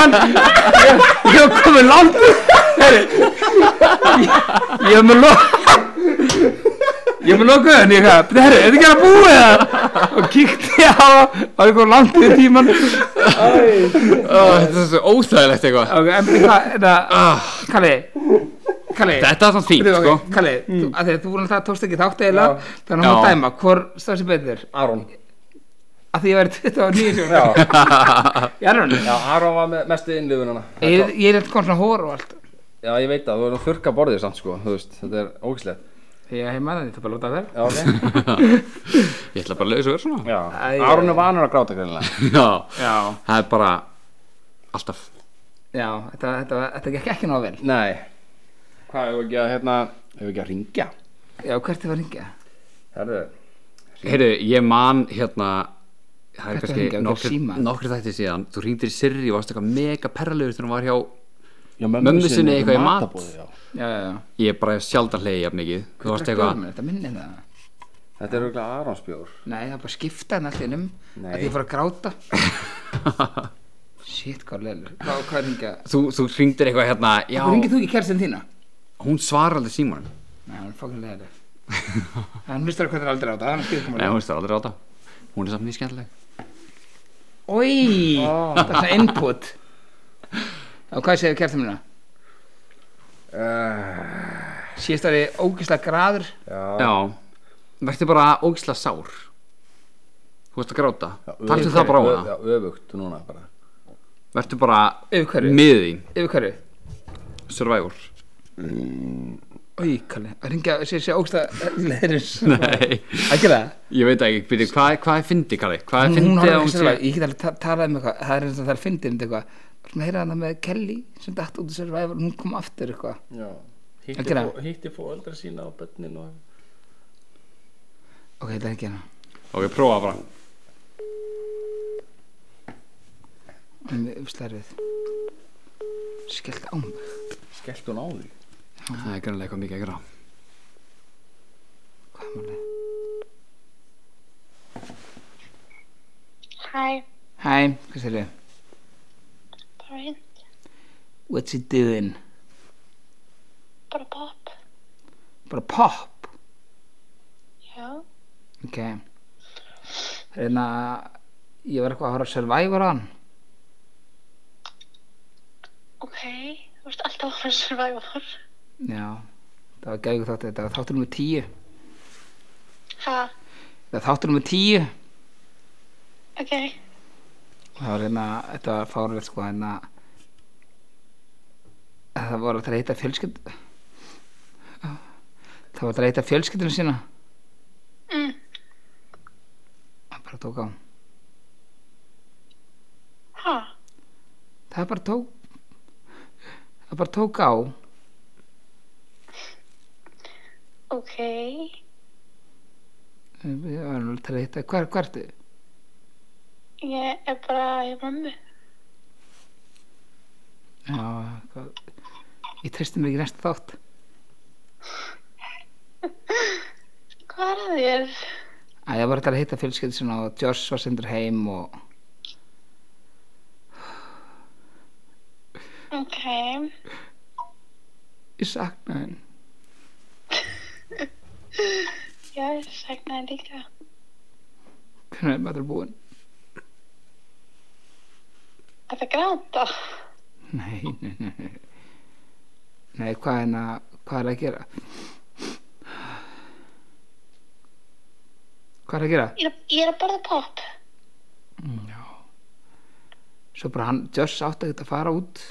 Speaker 5: ég hef komið langt Heri, ég, ég hef með lo ég hef með lokuð henni ég hef, herri, er þetta ekki að búið
Speaker 2: hérna.
Speaker 5: eða og kíkti á var eitthvað langt í tíman
Speaker 1: Ó, Ah, þetta er svo óþægilegt eitthvað
Speaker 2: Ok, en byrja hvað, þetta Kalli, Kalli
Speaker 1: Þetta er svona fínt,
Speaker 2: Byrju,
Speaker 1: sko
Speaker 2: ok, Kalli, þú, að því að þú náttúrulega tókst ekki þátt eiginlega Þannig að hún
Speaker 1: Já.
Speaker 2: dæma, hvor stóð sér betur?
Speaker 3: Aron
Speaker 2: Að því ég væri 29 sem
Speaker 3: Já,
Speaker 2: Ég er hann
Speaker 3: já Aron var með mestu innlifununa
Speaker 2: Ég ég er eitthvað kom svona hór og allt
Speaker 3: Já, ég veit það, þú erum að þurrka borðið samt, sko Þú veist, þetta er ógæslegt
Speaker 2: Ég hef maður því, þú bara láta það
Speaker 3: Já, ok
Speaker 1: Ég ætla bara að lausa vera svona
Speaker 3: Já,
Speaker 2: Æ,
Speaker 3: Aron er vanur að gráta greinilega
Speaker 1: Já,
Speaker 3: Já
Speaker 1: það er bara alltaf
Speaker 2: Já, þetta, þetta, þetta gekk ekki nóg vel
Speaker 3: Nei Hvað, hefur ekki að, hérna Hefur ekki að ringja?
Speaker 2: Já, hvert er að ringja?
Speaker 3: Herðu
Speaker 1: Heyrðu, ég man hérna Það er
Speaker 2: Þetta hringja,
Speaker 1: kannski
Speaker 2: þetta er
Speaker 1: nokkri,
Speaker 2: síma.
Speaker 1: nokkri þætti síðan Þú ringdir í Sirri og varst eitthvað mega perralegur þegar hún var hjá
Speaker 3: Já,
Speaker 1: Mömmu sinni eitthvað í mat.
Speaker 3: matarboði, já.
Speaker 2: Já, já, já
Speaker 1: Ég er bara sjaldan hlegið jafn mikið Þú varst
Speaker 2: Drakk
Speaker 1: eitthvað
Speaker 2: bjórinn, Þetta minni það
Speaker 3: Þetta er auðvitað Aronsbjór
Speaker 2: Nei, það er bara að skipta henni allir um
Speaker 3: Nei.
Speaker 2: að ég fór að gráta Shit, hvað leilur Hvað, hvað ringja?
Speaker 1: Þú, þú hringdir eitthvað hérna Já,
Speaker 2: Hvað ringið þú ekki kærstinn þína?
Speaker 1: hún svarar aldrei símanum
Speaker 2: Nei, hann er fokkin leilur Hann hlustar hvað það aldrei á það, hann skilur
Speaker 1: Nei,
Speaker 2: komað
Speaker 1: hún veist það aldrei á þetta Hún er samt mjög skemmtileg
Speaker 2: Ói, þetta er svona input Og hvað segir kærstinn mína?
Speaker 3: Eh,
Speaker 2: Síðast ári ógislega graður
Speaker 1: Já Vertu bara ógislega sár Þú veist að gráta Taltu
Speaker 3: öfugt-
Speaker 1: það bara á
Speaker 3: ö-
Speaker 1: hana
Speaker 3: Já, öfugt núna bara
Speaker 1: Vertu bara
Speaker 2: Yfir hverju?
Speaker 1: miðin
Speaker 2: Yfir hverju?
Speaker 1: Survivor
Speaker 2: Ói, Kalli, að ringja, sé, sé ógislega leilur
Speaker 1: Nei
Speaker 2: Ekki það?
Speaker 1: Ég veit ekki Býtu, hvað, hvað er fyndi, Kalli? Hvað er
Speaker 2: Hún- hún
Speaker 1: fyndi
Speaker 2: horfði
Speaker 1: að
Speaker 2: ekki
Speaker 1: hún
Speaker 2: sérlega,
Speaker 1: sé
Speaker 2: ég get alveg ta talað um eitthvað það er eins og það er fyndið um þetta eitthvað sem heyra hana með Kelly sem dætt út í Survivor og hún kom aftur eitthvað Ekki
Speaker 6: hitti,
Speaker 2: það?
Speaker 6: fó, hitti fóaldra sína og bönnin og
Speaker 2: ok, þetta er ekki hana
Speaker 1: Ok, prófa bara
Speaker 2: hún er uppslærfið skellt á mig
Speaker 3: Skellt hún á því
Speaker 1: Það er grannlega eitthvað mikið að gera
Speaker 2: hvað er málið
Speaker 4: Hæ,
Speaker 2: hæ, hvað sér ég
Speaker 4: það er hinn,
Speaker 2: what's it doing
Speaker 4: bara pop,
Speaker 2: bara pop
Speaker 4: já,
Speaker 2: ok reyna ég var eitthvað að horfa á Survivor á hann
Speaker 4: ok, þú veist alltaf að vera survivor.
Speaker 2: já það var gæðið þáttur þetta var þáttur nummer 10
Speaker 4: Ha,
Speaker 2: það var þáttur nummer 10
Speaker 4: ok,
Speaker 2: það var hérna, þetta var fárlega sko hérna það var alltaf að reyta fjölskyld það var alltaf að reyta fjölskyldinu sína
Speaker 4: mm,
Speaker 2: það bara tók á
Speaker 4: ha,
Speaker 2: það bara tók það bara tók á
Speaker 4: ok,
Speaker 2: það var alltaf að reyta hver, hvertu?
Speaker 4: ég er bara í mammu.
Speaker 2: Já, hvað- ég treysti mér ekki í næsta þátt
Speaker 4: Hvað er að þér?
Speaker 2: að það var alltaf að reyta fjölskyldinu sína og Josh var sendur heim og
Speaker 4: Ok,
Speaker 2: ég saknaði henn
Speaker 4: já, ég sagnaði líka.
Speaker 2: hvernig er maður búinn?
Speaker 4: Þetta gráta.
Speaker 2: Nei, nei, nei, nei. Nei, hvað er, hérna, hvað er að gera? Hvað er að gera?
Speaker 4: Ég er, ég er að borða pop.
Speaker 2: Já. Svo bara hann, Joss átti ekkert að fara út.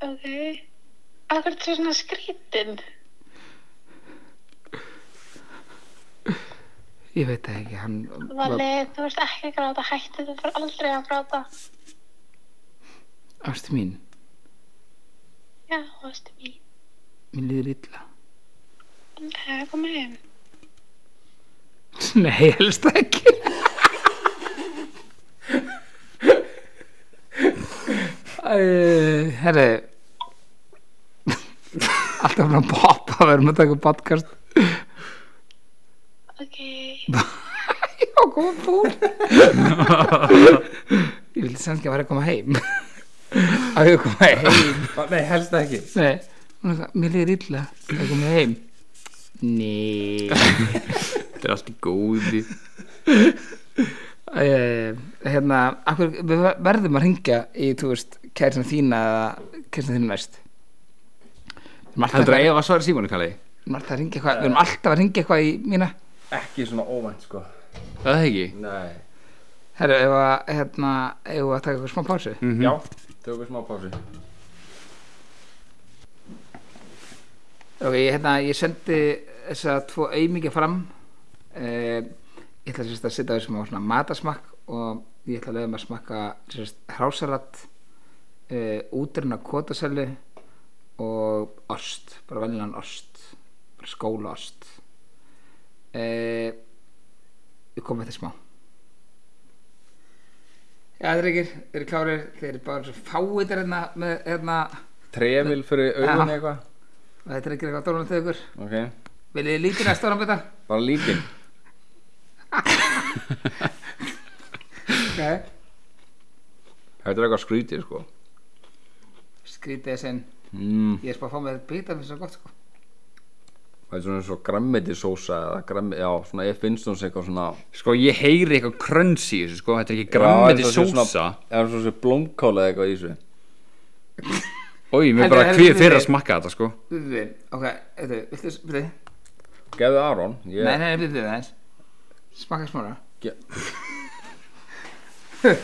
Speaker 4: Ok, akkur þú svona skrítin?
Speaker 2: Ég veit það ekki, hann...
Speaker 4: Valli, þú veist ekki að gráta, hættu, þú fyrir aldrei að gráta.
Speaker 2: Ástu mín,
Speaker 4: Já, þú veist mér.
Speaker 2: mín líður illa.
Speaker 4: Ok, komið heim.
Speaker 2: Nei, helst ekki. Æ, Herri, alltaf frá poppa, við erum að taka podcast.
Speaker 4: Ok,
Speaker 2: Já, koma búr Ég vildi samt ekki að vera að koma heim Að ég koma heim
Speaker 6: Nei, helst ekki
Speaker 2: Nei, hún er það, mér liður illa að koma heim Nei
Speaker 1: Þetta er allt í góði
Speaker 2: Eh, Hérna, akkur, við verðum að ringja í, þú veist, kærsan þína eða kærsan þínu næst Við erum alltaf
Speaker 1: Heldur að
Speaker 2: að-
Speaker 1: Eva var svarið símanum, Kalli?
Speaker 2: við erum alltaf að ringja eitthvað Við erum alltaf að ringja eitthvað í mína
Speaker 3: Ekki svona óvænt sko
Speaker 1: Það er ekki
Speaker 3: Nei
Speaker 2: Herru, ef að, hérna, ef að taka eitthvað smá pásu
Speaker 6: Mhm.
Speaker 3: Já, tökum smá pási
Speaker 2: Ok, ég- hérna, ég sendi þessa tvo auðmikið fram eh, ég ætla sérst að setja þessum á svona matasmakk og ég ætla að leiðum að smakka sérst hrásalat eh, útrunna kótasellu og ost, bara veljan ost bara skóla ost eh, við komum eftir smá Já, drengir, þeir eru klárir þeir eru bara svo fáið hérna með hérna,
Speaker 3: Trefil fyrir augun eitthvað
Speaker 2: og þetta er ekki eitthvað dólan til ykkur
Speaker 3: Ok
Speaker 2: Viljið þið lítið næsta ára með þetta?
Speaker 3: Bara líkin
Speaker 2: Ok.
Speaker 3: Þetta er eitthvað skrítið sko
Speaker 2: Skrítið sinn
Speaker 3: mm.
Speaker 2: Ég er bara að fá með bita fyrir svo gott sko
Speaker 3: Það er svona eins og grammetisósa eða grammet, já, svona ég finnst hún sem eitthvað svona
Speaker 1: Sko ég heyri eitthvað kröns í þessu sko Þetta er ekki
Speaker 3: Já,
Speaker 1: grammeti
Speaker 3: eins og sé
Speaker 1: sósa
Speaker 3: svona- Já, eins og sem blómkál eða eitthvað í þessu
Speaker 1: Ói, mér
Speaker 2: Heldur-
Speaker 1: er bara
Speaker 2: heldur
Speaker 1: kvið
Speaker 2: þið-
Speaker 1: fyrir að smakka þetta sko
Speaker 2: Bíddu, bíddu. Ok, þetta, viltu, byrðu Nei,
Speaker 3: Gefðu Aron ég,
Speaker 2: nei, byrðu það eins Smakka smára
Speaker 3: Mér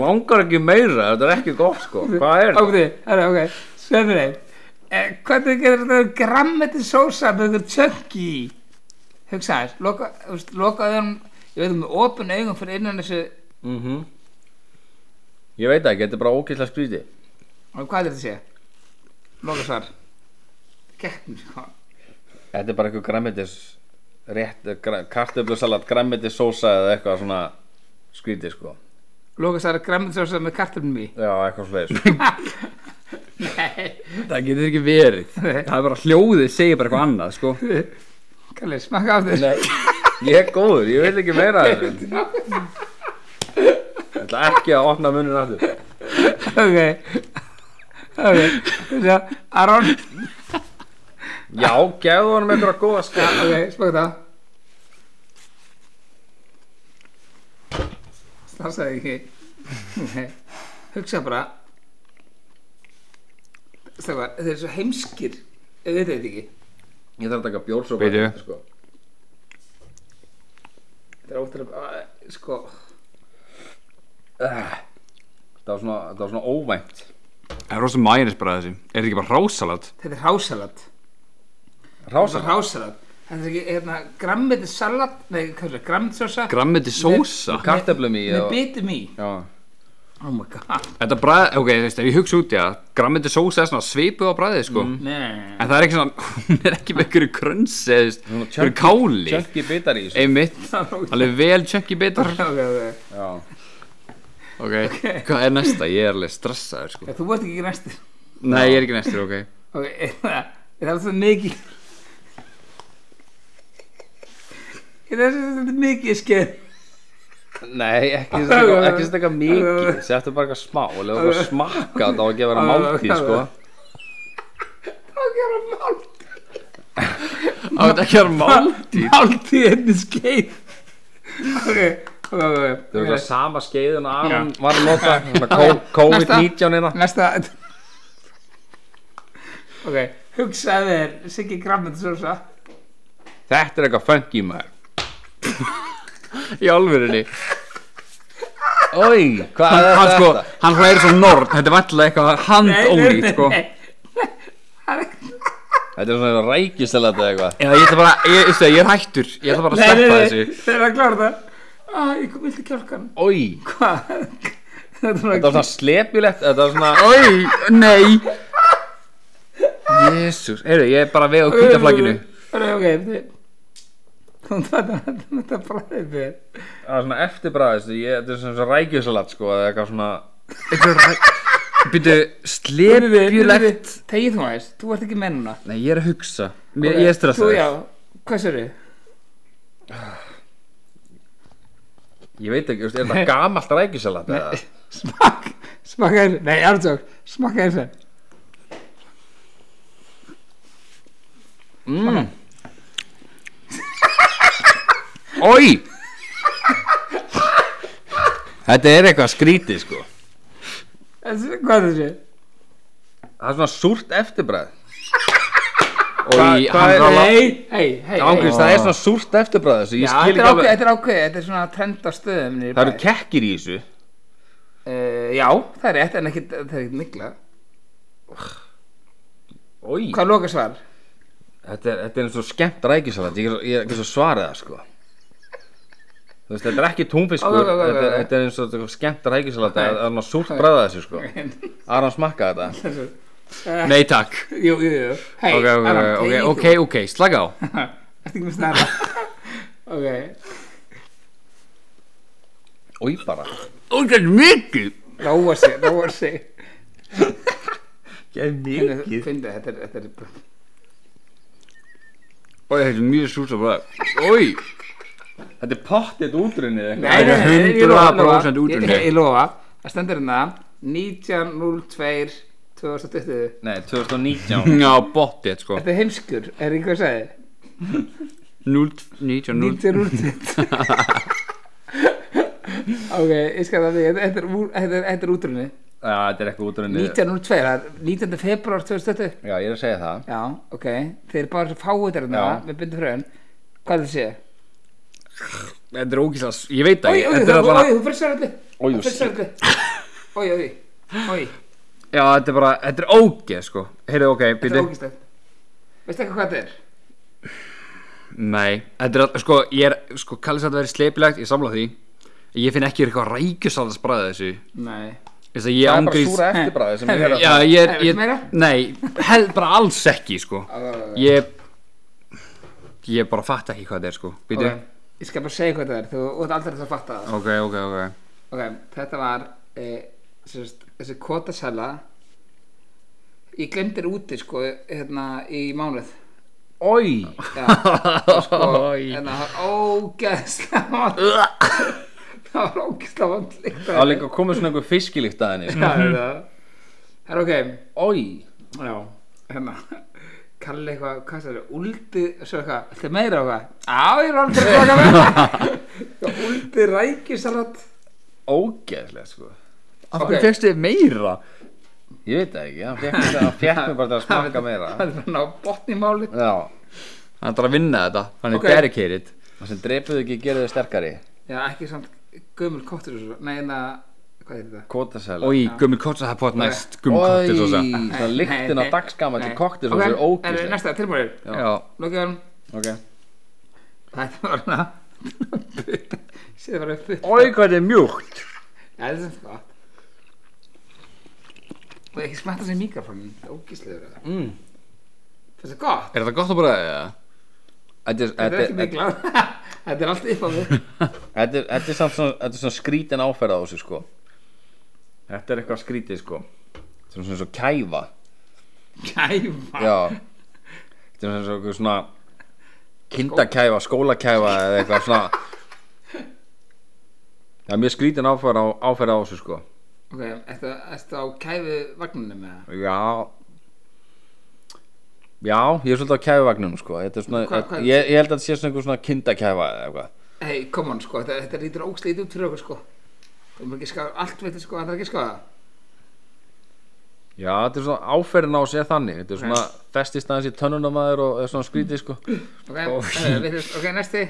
Speaker 3: langar ekki meira, þetta er ekki gott sko Hvað er
Speaker 2: Ok,
Speaker 3: þetta?
Speaker 2: bíddu, herra, ok, sveinu þeim eh, Hvernig getur þetta grammeti sósa með einhver tjöggi í? Hugsaðis, loka, þú veist, loka öðrum Ég veit um með opin augum fyrir innan þessu
Speaker 3: Mm Ég veit ekki, þetta er bara ógeðslega skrítið
Speaker 2: Og hvað er þetta að segja? Loka svar Gekkum, sko
Speaker 3: Þetta er bara eitthvað græmetis rétt, kartöflusalat, græmetisósa eða eitthvað svona skrítið sko
Speaker 2: Loka svar grammeti sósa með kartöfnum í
Speaker 3: Já, eitthvað slegis
Speaker 1: Það getur ekki verið Það er bara hljóðið, segir bara eitthvað annað sko
Speaker 2: Kalli, smakka af þér
Speaker 3: Nei, ég er góður, ég vil ekki meira af þessu Ég ætla ekki að opna munin aftur
Speaker 2: Ok Ok, þessi að Aron
Speaker 3: Já, gefðu honum einhverja góða skil
Speaker 2: Ok, smakka það Slasaði ekki Nei. Hugsa bara Stafar, þeir eru svo heimskir Ég veit þetta ekki
Speaker 3: Ég þarf að taka bjórsopa
Speaker 1: Bíddu.
Speaker 3: hérna, sko.
Speaker 2: Þetta er óttilega að, Sko,
Speaker 3: Ah, Það var svona, það var svona óvænt
Speaker 1: Það er rosa mænis bara þessi Er þetta ekki bara rásalat?
Speaker 2: þetta er hásalat Þetta er
Speaker 3: Rása
Speaker 2: hásalat Þetta er ekki, hérna, grammiti salat Nei, hvað er það, grammiti sósa
Speaker 1: Grammeti sósa?
Speaker 3: Kartöflum í
Speaker 2: Með
Speaker 3: og,
Speaker 2: bitum í
Speaker 3: Já,
Speaker 2: Oh my god
Speaker 1: Þetta bræð, ok, þú veist, ef ég hugsa út í að Grammeti sósa er svona svipuð á bræðið sko
Speaker 2: Nei
Speaker 1: En það er ekki svona, hún er ekki með einhverju kröns eða, þú
Speaker 3: Svona
Speaker 1: veist, einhverju káli
Speaker 3: tjönki bitar í þessu
Speaker 1: Einmitt, alveg vel chunky bitar
Speaker 2: Ok, ok.
Speaker 3: Já,
Speaker 1: Ok, hvað er næsta? Ég er alveg stressaður sko
Speaker 2: Já, Eh, Þú vart ekki næstur
Speaker 1: Nei, ég er ekki næstur, ok
Speaker 2: Ok, hérna, þetta er alltaf mikið Þetta er alltaf mikið skeið
Speaker 3: Nei, ekki staka, ekki staka mikið Settu bara eitthvað smá og lefa okkur smakka Það á ekki að vera máltíð, sko
Speaker 2: Það er að mál
Speaker 1: Það er ekki að vera máltíð
Speaker 2: Máltíð einni skeið Ok, ok, ok,
Speaker 3: Það er
Speaker 2: ok
Speaker 3: eitthvað sama skeiðin að Aron var að nota svona kó- COVID-19 hérna
Speaker 2: Næsta Ok, hugsaðu þér Siggi Grammit Sosa
Speaker 3: Þetta er eitthvað funky maður
Speaker 1: Í alvörunni
Speaker 3: Oi, hvað er
Speaker 1: Hann
Speaker 3: þetta?
Speaker 1: sko, hann hlæri svo nord Þetta er vallega eitthvað handónýtt sko
Speaker 3: Þetta er svona rækistelat eða eitthvað
Speaker 1: Eða ég ætla bara, ég, veistu það, ég er hættur Ég ætla bara að sleppa þessu
Speaker 2: Þeir eru að klára það Ah, ég kom vildi kjálkan
Speaker 3: Oi,
Speaker 2: Hvað? Þetta var
Speaker 3: þetta var svona slepjulegt Þetta var svona
Speaker 1: Oi, nei Jésús, heyrðu, ég er bara að vega á kvítaflakinu
Speaker 2: Það er ok, þetta Kom þetta, þetta bræðið þér
Speaker 3: Það var svona eftirbræðist Þetta er svona svona rækistelat sko eða eitthvað svona
Speaker 1: Eitthvað ræ... Býtu, slepjulegt
Speaker 2: Tegið þú aðeins, þú ert ekki með núna
Speaker 1: Nei, ég er að hugsa Mér, Ég er
Speaker 2: Þú já,
Speaker 1: stressaður
Speaker 2: hvað sér þið?
Speaker 3: Ég veit ekki, veist, er þetta gamalt rækistelat eða?
Speaker 2: Smakk, smakka þessu Nei, armtjók, smakka þessu
Speaker 1: Oi,
Speaker 3: Þetta er eitthvað skrítið sko
Speaker 2: Þessu- Hvað er þessu?
Speaker 3: Það er svona súrt eftirbræð
Speaker 1: oi,
Speaker 3: hvað
Speaker 1: hann
Speaker 3: er-
Speaker 1: rála
Speaker 2: Hei, hei, hei
Speaker 3: Ángriðs, það er svona súrt eftirbræð þessu Ég skil ekki alveg
Speaker 2: Þetta er ákveð, þetta er svona trend á stöðum niður í
Speaker 3: Það eru
Speaker 2: bæ.
Speaker 3: kekkir í þessu
Speaker 2: Eh, Já, það er rétt en ekki, það er ekki mikla
Speaker 3: Oi,
Speaker 2: Hvað er loka svar?
Speaker 3: þetta er, þetta er eins og skemmt rækisalat Ég ég er ekki svo svarið það sko Þú veist, þetta er ekki túnfiskur
Speaker 2: Ó, ó, ó, ó, ó.
Speaker 3: þetta, er- þetta er eins og þetta er skemmt rækisalat Það er það er svona súrt bræða þessu sko Aron smakka þetta
Speaker 1: Nei, takk
Speaker 2: Jú, jú, jú Hei,
Speaker 1: Ok, ok,
Speaker 2: Aron,
Speaker 1: ok,
Speaker 2: þegi
Speaker 1: ok,
Speaker 2: þú.
Speaker 1: ok, slaka á
Speaker 2: Ertu ekki með snara Ok
Speaker 3: Oi bara
Speaker 1: Ok, mikið
Speaker 2: Róa sig, róa sig
Speaker 3: Ég er
Speaker 2: Findu, þetta er, þetta er
Speaker 1: Oi, þetta er mjög súrt að bræða Oi
Speaker 3: Þetta er pottitt útrunnið eitthvað.
Speaker 2: Nei, nei, nei, ég lofa, ég lofa.
Speaker 1: 100% útrunni.
Speaker 2: Ég- Ég lofa Það stendur hérna 19.02 2020
Speaker 3: Nei, 2019
Speaker 1: Já, bóttið sko
Speaker 2: Þetta er heimskur, er ekki hvað að segja
Speaker 1: 0-19-0
Speaker 2: Nýttir úrtitt Ok, ég skal það því Þetta þetta er, úr- þetta er, þetta er útrunni
Speaker 3: Já, þetta er eitthvað útrunnið
Speaker 2: 1902, það er 19. februar 2020
Speaker 3: Já, ég er að segja það
Speaker 2: Já, ok Þeir eru bara fáið þér hérna
Speaker 3: Já.
Speaker 2: með byndu fröðin Hvað þetta sé?
Speaker 1: Þetta er ógíslas, ég veit það
Speaker 2: Ói,
Speaker 1: ekki Þetta er
Speaker 2: ói, ói,
Speaker 1: allavega
Speaker 2: þú fyrir sér öllu
Speaker 3: Ójú,
Speaker 2: Þú fyrir sér öllu Ói, ói, ói
Speaker 1: Já, þetta er bara, þetta er ógeð sko Heyrðu, ok,
Speaker 2: Þetta
Speaker 1: býti
Speaker 2: er ógæslegt Veistu ekki hvað þetta er?
Speaker 1: Nei, þetta er, all- sko, ég er, sko, kallið þetta að vera sleipilegt, ég samla því Ég finn ekki eitthvað rækjusalans bræðið þessu
Speaker 2: Nei
Speaker 1: Þess að ég
Speaker 3: það er bara
Speaker 1: ángrís
Speaker 3: súra eftirbræði sem ég er að
Speaker 1: Já, ég er,
Speaker 2: Nei,
Speaker 1: ég,
Speaker 2: viltu meira?
Speaker 1: nei, held bara alls ekki, sko Ég, ég bara fatt ekki hvað þetta er, sko Býti,
Speaker 2: Ok, Ég skal bara segja hvað þetta er Þú þú ert aldrei að fatta það
Speaker 1: ok, ok, ok
Speaker 2: Ok, þetta var e, sérst, Þessi kvotasæla Ég glemdi þér úti sko Hérna í mánuð
Speaker 3: Ói
Speaker 2: Já og sko, Hérna það var ógeðslega vond Það var ógeðslega vond
Speaker 3: Það var líka komið svona einhver fiskilíkt að henni sko.
Speaker 2: Það er það Það er ok
Speaker 3: Ói
Speaker 2: Já, hérna Kalli eitthvað, hvað það er, úldi Svo eitthvað, þetta meira og eitthvað Já, ég er alveg að taka með Úldi rækjusalat
Speaker 3: Ógeðslega sko
Speaker 1: Af hverju fegstu þið meira?
Speaker 3: Ég veit það ekki, hann fekk mig- hann fekk mig bara til að smakka meira
Speaker 2: Það er bara að ná botni í máli
Speaker 3: Já,
Speaker 1: Hann ætlar að vinna þetta, hann er
Speaker 2: Ok.
Speaker 1: okay. barricaded
Speaker 3: það sem dreipuðu ekki gerðu þau sterkari
Speaker 2: Já, ekki samt gömul kottur og svo Nei, en að, hvað er þetta?
Speaker 3: Kvotasæla
Speaker 1: Ói, gummi kotsa, það er pott næst Gummi kotsa, svo svo
Speaker 3: Ói, það lyktin á dagskama til koktir svo er
Speaker 2: En
Speaker 3: ógeðslega
Speaker 2: næsta, tilbúinir
Speaker 1: Já,
Speaker 2: Lókiðan,
Speaker 3: Ok
Speaker 2: þetta var hana Sér bara upp
Speaker 1: Ói, hvað þetta er mjúkt
Speaker 2: Já, þetta er samt gott Og ekki smetta sér mikrofónin Það er ógíslegur það
Speaker 3: Mm.
Speaker 2: Fyrst það gott
Speaker 1: Er þetta gott að bræða eða?
Speaker 3: Þetta er-
Speaker 2: Þetta er ekki
Speaker 3: þetta er-
Speaker 2: mikla Þetta er allt upp á mig
Speaker 3: þetta er- þetta er samt svona Þetta er svona skrítin áferð á þessu sko Þetta er eitthvað skrítið sko Þetta er svona svo kæfa
Speaker 2: Kæfa
Speaker 3: Já Þetta er svona svona, svona kindakæfa, skólakæfa eða eitthvað svona Það er mjög skrítin áferð á, áferð á þessu sko
Speaker 2: Ok, ertu, ertu á kæfu vagninu með það?
Speaker 3: Já Já, ég er svolítið á kæfuvagnum sko. Þetta er svona,
Speaker 2: Hvað- hvað-
Speaker 3: ég, ég held að þetta sé svona einhver svona kindakæfa eða eitthvað
Speaker 2: Hei, come on sko, þetta, þetta lítur ógslítið út fyrir okkur sko Þú mér ekki skáða, allt veitir sko, það er ekki skáða
Speaker 3: Já, þetta er svona áferðin á sér þannig Þetta er svona festist aðeins í tönnunum aður og er svona skrítið sko
Speaker 2: Ok, eh, við þess, ok, næsti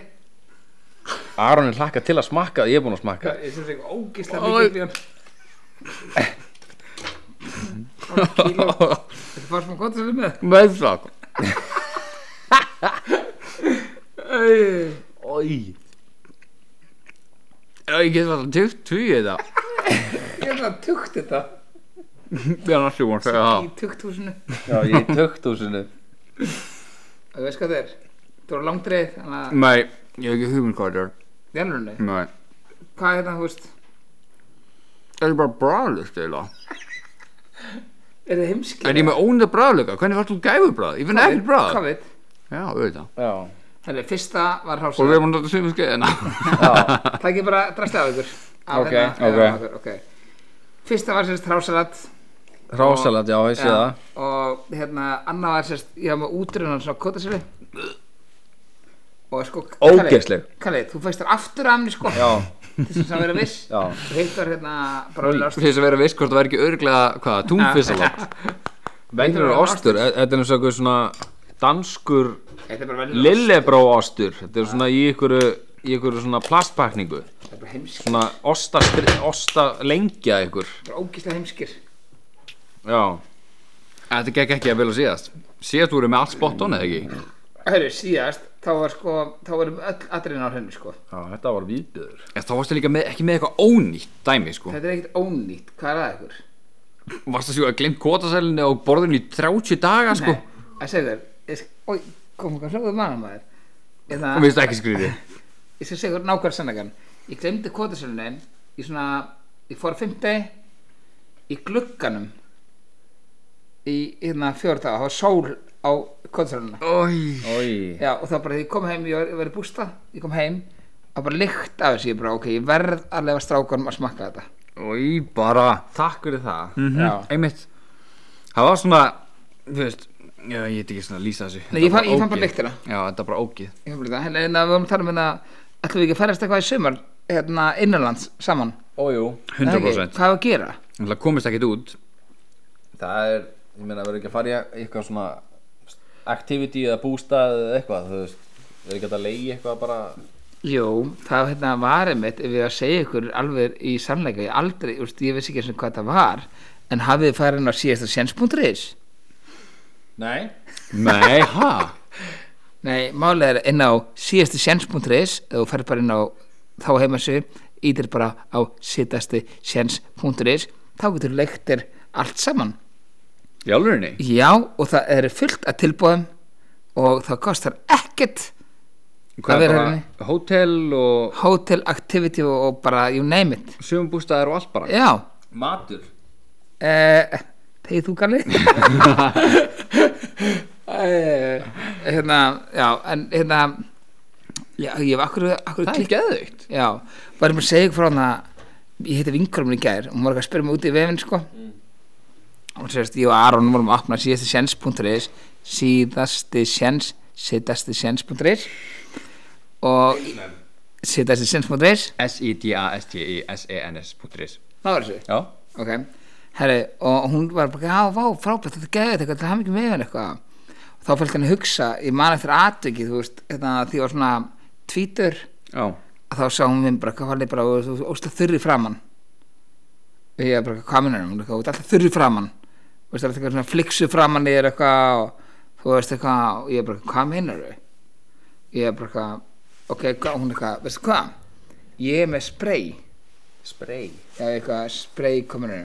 Speaker 3: Aron er hlakka til að smakka, ég er búinn að smakka
Speaker 2: Ég sem sé ekki ógislega mikið fyrir hann Þetta fara smá gott að sem með
Speaker 1: Með það
Speaker 2: Æ,
Speaker 1: Ói Ég get alltaf tjótt tvið þetta
Speaker 2: Ég er það tugt þetta
Speaker 1: Ég er næstu búin að segja það
Speaker 2: Í tugt húsinu
Speaker 3: Já, ég er í tökthúsinu
Speaker 2: Og veist hvað það er? Þú eru langdreið, þannig
Speaker 3: Mm.
Speaker 2: að
Speaker 1: Nei, ég hef ekki hugmynd hvað þetta er
Speaker 2: Jálfurinu,
Speaker 1: Nei
Speaker 2: hvað er þetta, þú veist
Speaker 1: Þetta er bara bræðlust eiginlega
Speaker 2: Er það heimskið?
Speaker 1: Er ég með ónda bræðluga? Hvernig fannst þú gæfubræð? Ég finn ekkert bræð
Speaker 2: Hvað veit?
Speaker 1: Já, auðvitað
Speaker 3: Já,
Speaker 2: Herri, fyrsta
Speaker 1: Og
Speaker 2: var
Speaker 1: við
Speaker 2: hálfsög
Speaker 1: erum að nota sömu skeiðina
Speaker 3: já,
Speaker 2: Það ekki bara drastið af ykkur af
Speaker 3: Ok,
Speaker 2: hérna,
Speaker 3: ok.
Speaker 2: hérna, okkur, ok Fyrsta var sérst hálfsalat
Speaker 3: rásalat, já, ég sé það
Speaker 2: Og hérna, annað var sérst Ég var með útrunan svona kótasölu Og sko Kalli-
Speaker 3: Ógeðsleg.
Speaker 2: Kalli, þú fæst þér aftur af henni sko
Speaker 3: Já,
Speaker 2: Til þess að vera viss
Speaker 3: já,
Speaker 2: Og hitt var hérna bara
Speaker 1: Til þess að vera viss hvort það væri ekki örglega Hvað, túnfissalat
Speaker 3: venjur er ostur e- Þetta er eins og einhver svona danskur
Speaker 2: Þetta er bara venjuleg ost.
Speaker 3: lillebró ostur Þetta er svona í ykkur, í ykkur svona plastpakningu
Speaker 2: Þetta er bara heimskir
Speaker 3: svona osta, osta lengja ykkur
Speaker 2: Bara ógislega heimskir
Speaker 3: já,
Speaker 1: Þetta gekk ekki að vilja síðast Síðast voru með allt spot on eða ekki
Speaker 2: Herri, síðast Þá var sko Þá varum öll atriðin á henni sko
Speaker 3: já þetta var výbjöður
Speaker 1: Ég, Þá varstu líka með, ekki með eitthvað ónýtt dæmi sko
Speaker 2: Þetta er ekkert ónýtt Hvað er að ykkur?
Speaker 1: Varstu að sjú að glimt kvotasælinu og borðinu í 30 daga sko
Speaker 2: Nei, að segja þér Oi, kom hvað hljóðu manna maður Eða,
Speaker 1: Og minnst ekki skrýði
Speaker 2: ég skal segja þér nákvæmlega sannleikan Ég glemdi kvotasölunin Ég svona, ég fór fymti Í glugganum Í hérna fjórða Það var sól á kvotasölunina
Speaker 1: Ói
Speaker 3: oi,
Speaker 2: Já, og þá bara þegar ég kom heim Ég var, ég var í bústa, ég kom heim var bara lykt af þessu, ég bara, ok, ég verð að lefa strákunum að smakka þetta
Speaker 1: Í bara
Speaker 3: Takk fyrir það
Speaker 1: Mhm, Einmitt Það var svona Þú veist Já, ég veit ekki svona að lýsa þessu
Speaker 2: Nei,
Speaker 1: Þetta
Speaker 2: ég fann-
Speaker 1: var
Speaker 2: ég fann
Speaker 1: ógið.
Speaker 2: bara lyktina.
Speaker 1: Já, þetta var bara ógið
Speaker 2: Ég fann bara þetta, en það við varum að tala um þetta ætlum við ekki að ferðast eitthvað í sumar hérna innanlands saman
Speaker 3: Ójú,
Speaker 1: 100%
Speaker 2: Hvað er að gera?
Speaker 1: Það komist ekkert út
Speaker 3: það er, ég meina, verður ekki að fara í eitthvað svona activity eða bústað eða eitthvað, þú veist verður ekki hægt að leiði eitthvað bara
Speaker 2: Jú, það hérna, var einmitt ef ég var að segja ykkur alveg í sannleika ég aldrei, úst, ég veist ekki eins og hvað það var en hafið þið farið inn á síðasta séns.is
Speaker 3: Nei
Speaker 1: Nei, ha?
Speaker 2: Nei, málega er inn á síðasta séns.is eða þú ferð bara inn á þá heimassu ítir bara á síðasti séns.is þá getur leiktir allt saman
Speaker 1: Í alvegurinni?
Speaker 2: Já, og það eru fullt að tilbúðum og það kostar ekkert
Speaker 1: Hvað
Speaker 2: er
Speaker 1: er
Speaker 2: henni?
Speaker 1: bara Hótel og
Speaker 2: hotel activity og, og bara you name it
Speaker 1: Sjöfumbústaðar og allt bara
Speaker 2: Já,
Speaker 3: Matur
Speaker 2: eh, tegið þú galli Eh, Hérna, já, en hérna Já, ég hef akkur, akkur
Speaker 1: Það er geðveikt
Speaker 2: Já, bara ég bara að segja ykkur frá hann að ég heiti vinkarum í gær og hún var eitthvað að spyrja mig út í vefinn sko
Speaker 1: Mm.
Speaker 2: og sérst, ég og Aron vorum að opna síðasti séns.is síðasti séns síðasti séns.is og síðasti séns.is
Speaker 1: E S-I-D-A-S-T-I-S-E-N-S.is
Speaker 2: það var þessu
Speaker 1: Já
Speaker 2: ok Herri, og hún var bara, já, vá, frábært þetta geðið eitthvað, það hafði mikið með hann eitthvað og þá fylgdi hann að hugsa, ég man eftir atvikið þú veist, þetta, því ég var svona tvítur,
Speaker 1: Já
Speaker 2: að þá sá hún minn bara, hvað var þið bara, þú veist, ósla þurri framann og ég bara, hvað minnur hún, þú veist, alltaf þurri framann þú veist, alltaf eitthvað svona fliksu framann ég er eitthvað, og þú veist, eitthvað og ég bara, hvað minnur þau ég bara, eitthvað, ok, hvað, hún eitthvað veistu hvað, ég er með spray
Speaker 3: Spray
Speaker 2: já, eitthvað spray kominu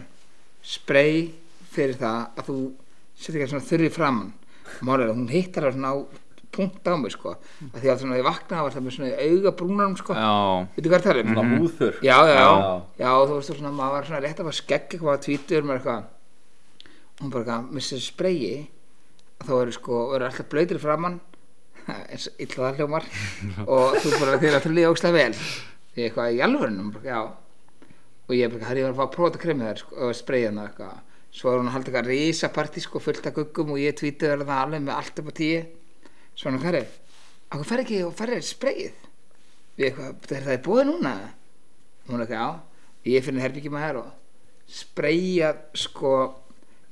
Speaker 2: spray fyrir það að þú setur eitthvað svona þurri framann málega, hún hittar það svona á punkt á mig sko, að því að svona ég vaknaði var það með svona auga brúnarum sko
Speaker 1: Já
Speaker 2: veitu hvað það er? Mhm.
Speaker 3: Svona húður
Speaker 2: já, já, já,
Speaker 3: Já.
Speaker 2: já, þú veist svona maður var svona rétt að fara skegg eitthvað að tvítur með eitthvað og hún bara eitthvað, með þessu sprayi þá eru sko, eru alltaf blöytir framann eins og illa það hljómar og þú bara þeir að þú líða ógstlega vel því eitthvað í alvörunum bara, já og ég bara, herri, ég var að fá að prófa þetta kremið þær sko, og spreyja hana eitthvað svo var hún að halda eitthvað risapartí sko fullt af guggum og ég tvítið verða það alveg með allt upp á tíu svona, herri, okkur fer ekki og ferri spreyið við eitthvað, er það í búið núna og hún eitthvað, já ég finn herbyggjum að hér og spreyja sko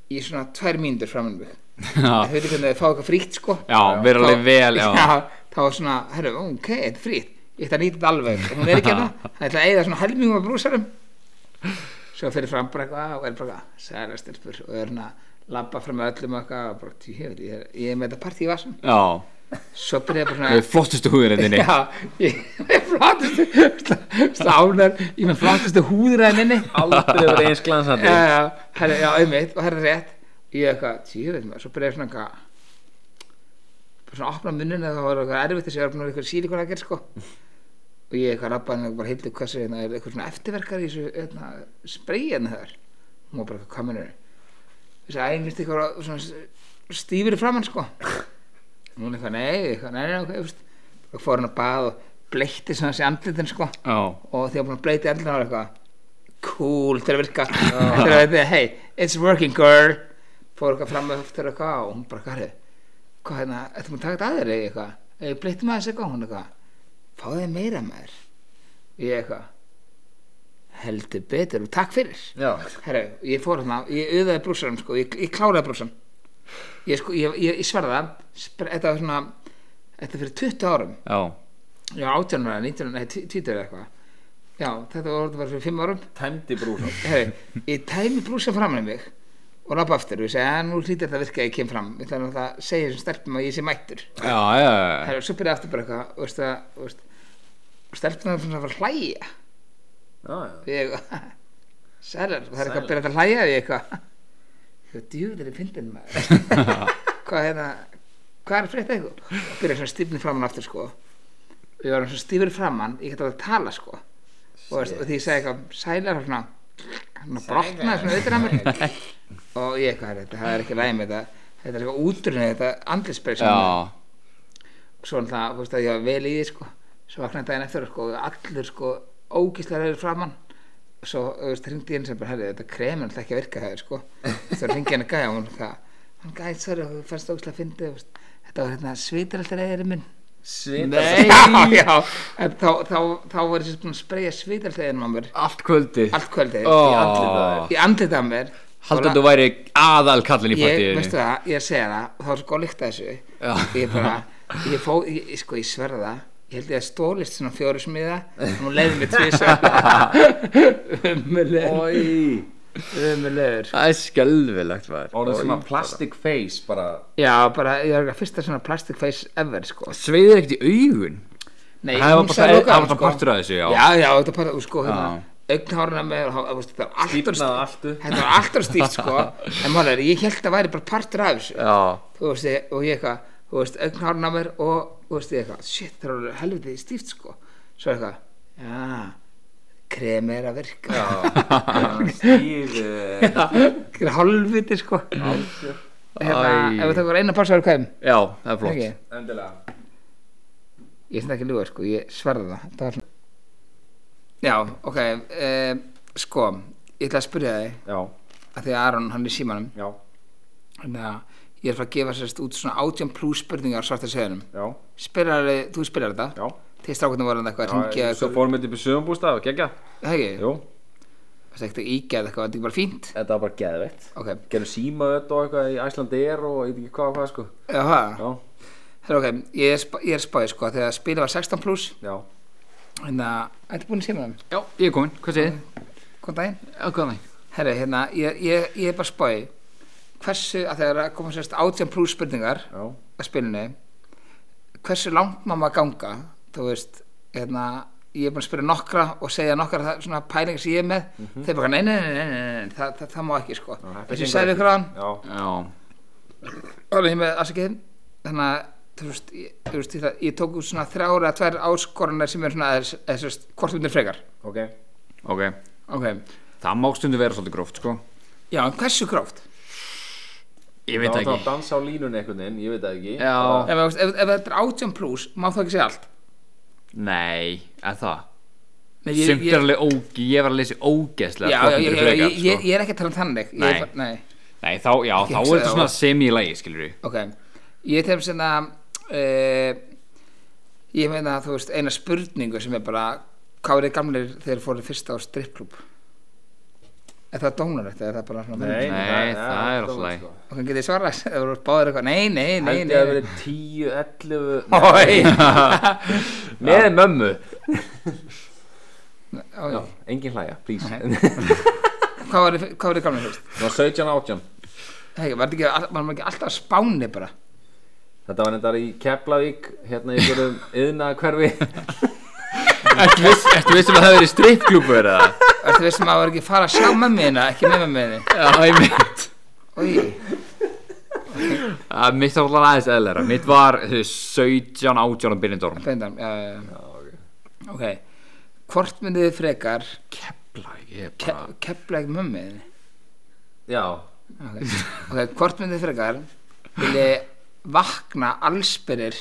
Speaker 2: í svona tvær mínútur framann mig
Speaker 1: Já,
Speaker 2: þau veitir hvernig þau fá eitthvað frítt sko
Speaker 1: já vera alveg vel Já,
Speaker 2: já þá var svona, herru, ok, þetta er frýtt ég ætla að nýta þetta alveg, En hún er ekki hérna það ætla að eigða svona helmingum af brúsarum svo fyrir fram bara eitthvað "Ah," og er bara eitthvað, sæla stelpur og er hérna labba fram með öllum og eitthvað og bara, "Djú, ég, veit, ég, er- ég er með þetta partí í vasum
Speaker 1: já.
Speaker 2: svo byrjaði bara
Speaker 1: Það
Speaker 2: svona
Speaker 1: er flottustu hérna hugurendinni
Speaker 2: já, ég er flottustu stánar, ég er með flottustu húðræðinni
Speaker 3: Aldrei verið eins glansandi
Speaker 2: já, já, herri, já, auðvitað, og herri rétt ég eitthvað, tíu veit maður, svo byrjaði svona eitthvað bara svona að opna munnin eða það var eitthvað erfitt þess að ég var búin að vera eitthvað sílíkon að gera sko og ég eitthvað labbaði henni og bara heildi hvað sér hérna er eitthvað svona eftirverkar í þessu hérna, spreyi hérna þar hún var bara eitthvað hvað mennur þess að einvist eitthvað svona stífur í framann sko og hún eitthvað nei, eitthvað nei, nei, ok, veist og fór hann að bað og bleitti svona þessi andlitin sko
Speaker 1: Já,
Speaker 2: og því að búin að bleita allan ára eitthvað cool til að virka til að veitja, hey, it's working girl fór eitthvað fram með höftur eitthvað og hún bara, hvað hvað hérna, ertu maður að taka þetta að þér eða eitthvað, eða bleittum aðeins eitthvað hún eitthvað, fáðu þið meira maður ég eitthvað heldur betur og takk fyrir
Speaker 3: Já
Speaker 2: herru, ég fór hérna, ég auðaði brúsarum sko, ég, ég kláraði brúsan ég, sko, ég, ég, ég sverða það þetta var svona, þetta er fyrir 20 árum
Speaker 1: já
Speaker 2: Já, 18 ára, 19 ára, nei, 20 ára eitthvað Já, þetta var orðið bara fyrir 5 árum
Speaker 3: Tæmdi brúsan
Speaker 2: Heri, Ég tæmi brúsa framan í mig og labba aftur og ég segi að nú hlýtir þetta að virka að ég kem fram Ég ætla nú að segja þessum stelpum að ég sé mættur
Speaker 1: Já, já, já
Speaker 2: Heri, Svo byrja aftur bara eitthvað og veist að, þú veist, og stelpum það svona að fara að hlæja
Speaker 3: Já, já
Speaker 2: og ég Sælar, og það er eitthvað að byrja að hlæja og ég eitthvað Ég djúður í fyndin maður Hvað er það Hvað er að frétta eitthvað og byrja svona stífni framann aftur sko og ég var svona stífur framann ég gæti alveg að tala sko og, veist, og því ég sagði eitthvað sælar og svona hann brotnaði svona auðvitað að mér og ég eitthvað þetta, það er ekki læg með þetta þetta er eitthvað útrunni, þetta andlisbreyð
Speaker 1: Já,
Speaker 2: svo náttúrulega, þú veist að ég var vel í því sko svo vaknaði daginn eftir sko, og allur sko ógislega reyður framann svo þú veist, hringdi ég inn sem bara herri, þetta kremin alltaf ekki að virka hefur sko svo hringdi ég henni gæja og hún hvað hann gæði, sorry, þú fannst ógislega að fyndi þetta var hérna svitir alltaf reyðurinn minn
Speaker 3: Nei
Speaker 2: já, já, en þá, þá, þá var þessi búin að spreja svitir alltaf reyðurinn á mér
Speaker 1: Allt kvöldi
Speaker 2: allt kvöldið,
Speaker 1: Ó,
Speaker 2: ég andlið það á mér
Speaker 1: Haldur þú væri aðal kallin í
Speaker 2: ég,
Speaker 1: partíinu
Speaker 2: veistu það, ég segi það og þá er sko líkt að þessu
Speaker 1: Já.
Speaker 2: ég bara, ég fó, ég, ég- sko ég sverða það ég held ég að stólist svona fjóru smiða og hún leiði mig tvísa umulegur
Speaker 3: Í
Speaker 2: umulegur
Speaker 1: Það er skjálfilegt maður
Speaker 3: Orðið svona plastic face bara
Speaker 2: já bara, ég var ekki að fyrsta svona plastic face ever sko
Speaker 1: Sveiðir ekkert í augun
Speaker 2: Nei,
Speaker 1: Það var
Speaker 2: hún
Speaker 1: bara-
Speaker 2: sagði
Speaker 1: það-
Speaker 2: lokaðan,
Speaker 1: það var bara partur af þessu, já.
Speaker 2: já, já þetta var partur, sko, hérna augnhárna með, há- þú veist, þetta var alltaf
Speaker 3: Stífnaði allt upp.
Speaker 2: þetta var alltaf stíft sko en maður, ég held að væri bara partur af þessu
Speaker 1: Já
Speaker 2: þú veist, ég- og ég eitthvað, þú veist, augnhárn á mér og, þú veist, ég eitthvað, shit, það er alveg helviti stíft, sko, svo eitthvað, já, krem er að virka,
Speaker 3: Stífið
Speaker 2: það er halviti, sko, hérna,
Speaker 1: Æ.
Speaker 2: ef við tökum eina pásu á hverjum,
Speaker 1: Já, það er flott
Speaker 2: ekki,
Speaker 3: Endilega
Speaker 2: ég snakki ljúga, sko, ég sverða það, það var svona, já, ok, um, sko, ég ætla að spyrja þig,
Speaker 3: Já,
Speaker 2: að því að Aron, hann er í símanum,
Speaker 3: já,
Speaker 2: þannig að ég er að fara að gefa sérst út svona átján pluss spurningar á svarta seðunum,
Speaker 3: já,
Speaker 2: spyrar, þú spyrar þetta,
Speaker 3: já
Speaker 2: því strákunum voru hann eitthvað að hringja
Speaker 3: Svo
Speaker 2: eitthvað-
Speaker 3: fórum við upp í sögumbústað og gegja
Speaker 2: Það ekki?
Speaker 3: Jú,
Speaker 2: Það er ekkert að ígæða eitthvað, var þetta ekki bara fínt?
Speaker 3: þetta var bara geðveitt
Speaker 2: Ok,
Speaker 3: Gerðu síma öll og eitthvað í Æslandi er og ég veit ekki hvað og hvað sko
Speaker 2: já, það.
Speaker 3: Já,
Speaker 2: Herra, ok, ég er, sp- ég er spáðið sko, þegar spilið var 16 pluss,
Speaker 3: já
Speaker 2: hérna, ættu búin að séma þeim?
Speaker 1: Já, ég er komin, hvað segir þið?
Speaker 2: Góðan daginn.
Speaker 1: Já, hvað næ?
Speaker 2: Herra, hérna, ég, ég, ég er bara spáðið, hversu, að þegar að koma sérst 18 pluss spurningar
Speaker 3: Já,
Speaker 2: að spilinu, hversu langt má maður ganga, þú veist, hérna, ég er búin að spyrja nokkra og segja nokkra það, svona pælingar sem ég er með, þeir bara, nei, nei, nei, nei, nei, nei, nei, það, það, Mhm. það má ekki sko. Þessi ég sagði ykkur á hann,
Speaker 3: já
Speaker 1: Já
Speaker 2: Alveg, ég með afsakið þannig að þú veist, ég, þú veist, ég, það- ég tók út svona þrjár eða tvær áskorunar sem er svona eða, eða, þú veist, hvort myndir frekar
Speaker 3: Ok
Speaker 1: Ok
Speaker 2: ok,
Speaker 1: Það má stundu vera svolítið gróft, sko
Speaker 2: já, en hversu gróft
Speaker 1: Ég
Speaker 3: Það
Speaker 1: veit
Speaker 3: var
Speaker 1: ekki
Speaker 3: það að dansa á línunni einhvern veginn, ég veit það ekki
Speaker 1: Já.
Speaker 3: Bara-
Speaker 2: ef, ef, ef, ef þetta er 18 pluss, má það ekki segja allt
Speaker 1: Nei, eða það
Speaker 2: Nei, ég,
Speaker 1: Sumt
Speaker 2: ég,
Speaker 1: er alveg ógi, ég var að lesa ógeðslega
Speaker 2: já, já,
Speaker 1: flott
Speaker 2: ég,
Speaker 1: undir
Speaker 2: ég,
Speaker 1: frekar,
Speaker 2: ég, ég,
Speaker 1: sko.
Speaker 2: ég er ekki að tala um þannig ég,
Speaker 1: Nei.
Speaker 2: er bara- nei,
Speaker 1: Nei, þá, já,
Speaker 2: Ég
Speaker 1: þá er
Speaker 2: hugsaði
Speaker 1: þetta
Speaker 2: það
Speaker 1: svona
Speaker 2: var-
Speaker 1: semi-lægi, skilur við
Speaker 2: ok ég tegum svona uh, ég meina, þú veist, eina spurningu sem er bara, hvað er þið gamlir þegar fóruð fyrst á strippklub er það dónarlegt, eða er það bara svona
Speaker 3: Nei,
Speaker 1: Nei, það er alltaf lagi.
Speaker 3: sko.
Speaker 2: og hann getið svarað það voru báðir eitthvað, nei, nei, nei,
Speaker 3: Held ég að
Speaker 2: nei.
Speaker 3: verið 10, 11
Speaker 1: Með mömmu
Speaker 2: Á, já.
Speaker 3: Já, engin hlæja, please
Speaker 2: hvað var þið- hvað var þið gamlega fyrst?
Speaker 3: Það var 17, 18
Speaker 2: Hei, var, þetta ekki, all- var maður ekki alltaf að spáni bara
Speaker 3: Þetta var nefndar í Keflavík Hérna í einhverjum yðna hverfi
Speaker 1: Ertu viss- ertu viss um að það hefur verið strippklúpur eða?
Speaker 2: Ertu veist maður var ekki að fara að sjá mömmu hérna ekki með mömmu hérna
Speaker 1: Já, ég mynd
Speaker 2: Oj,
Speaker 1: Mitt var alltaf aðeins eðlera Mitt var þú veist, 17, 18 og Byrnindorm
Speaker 2: beindan, já, já, já ok, hvort myndið þið frekar
Speaker 1: Kepla, ég er
Speaker 2: ke
Speaker 1: bara
Speaker 2: kepla ekki mömmu hérna
Speaker 3: Já,
Speaker 2: okay. ok, hvort myndið þið frekar vilji vakna allsbyrðir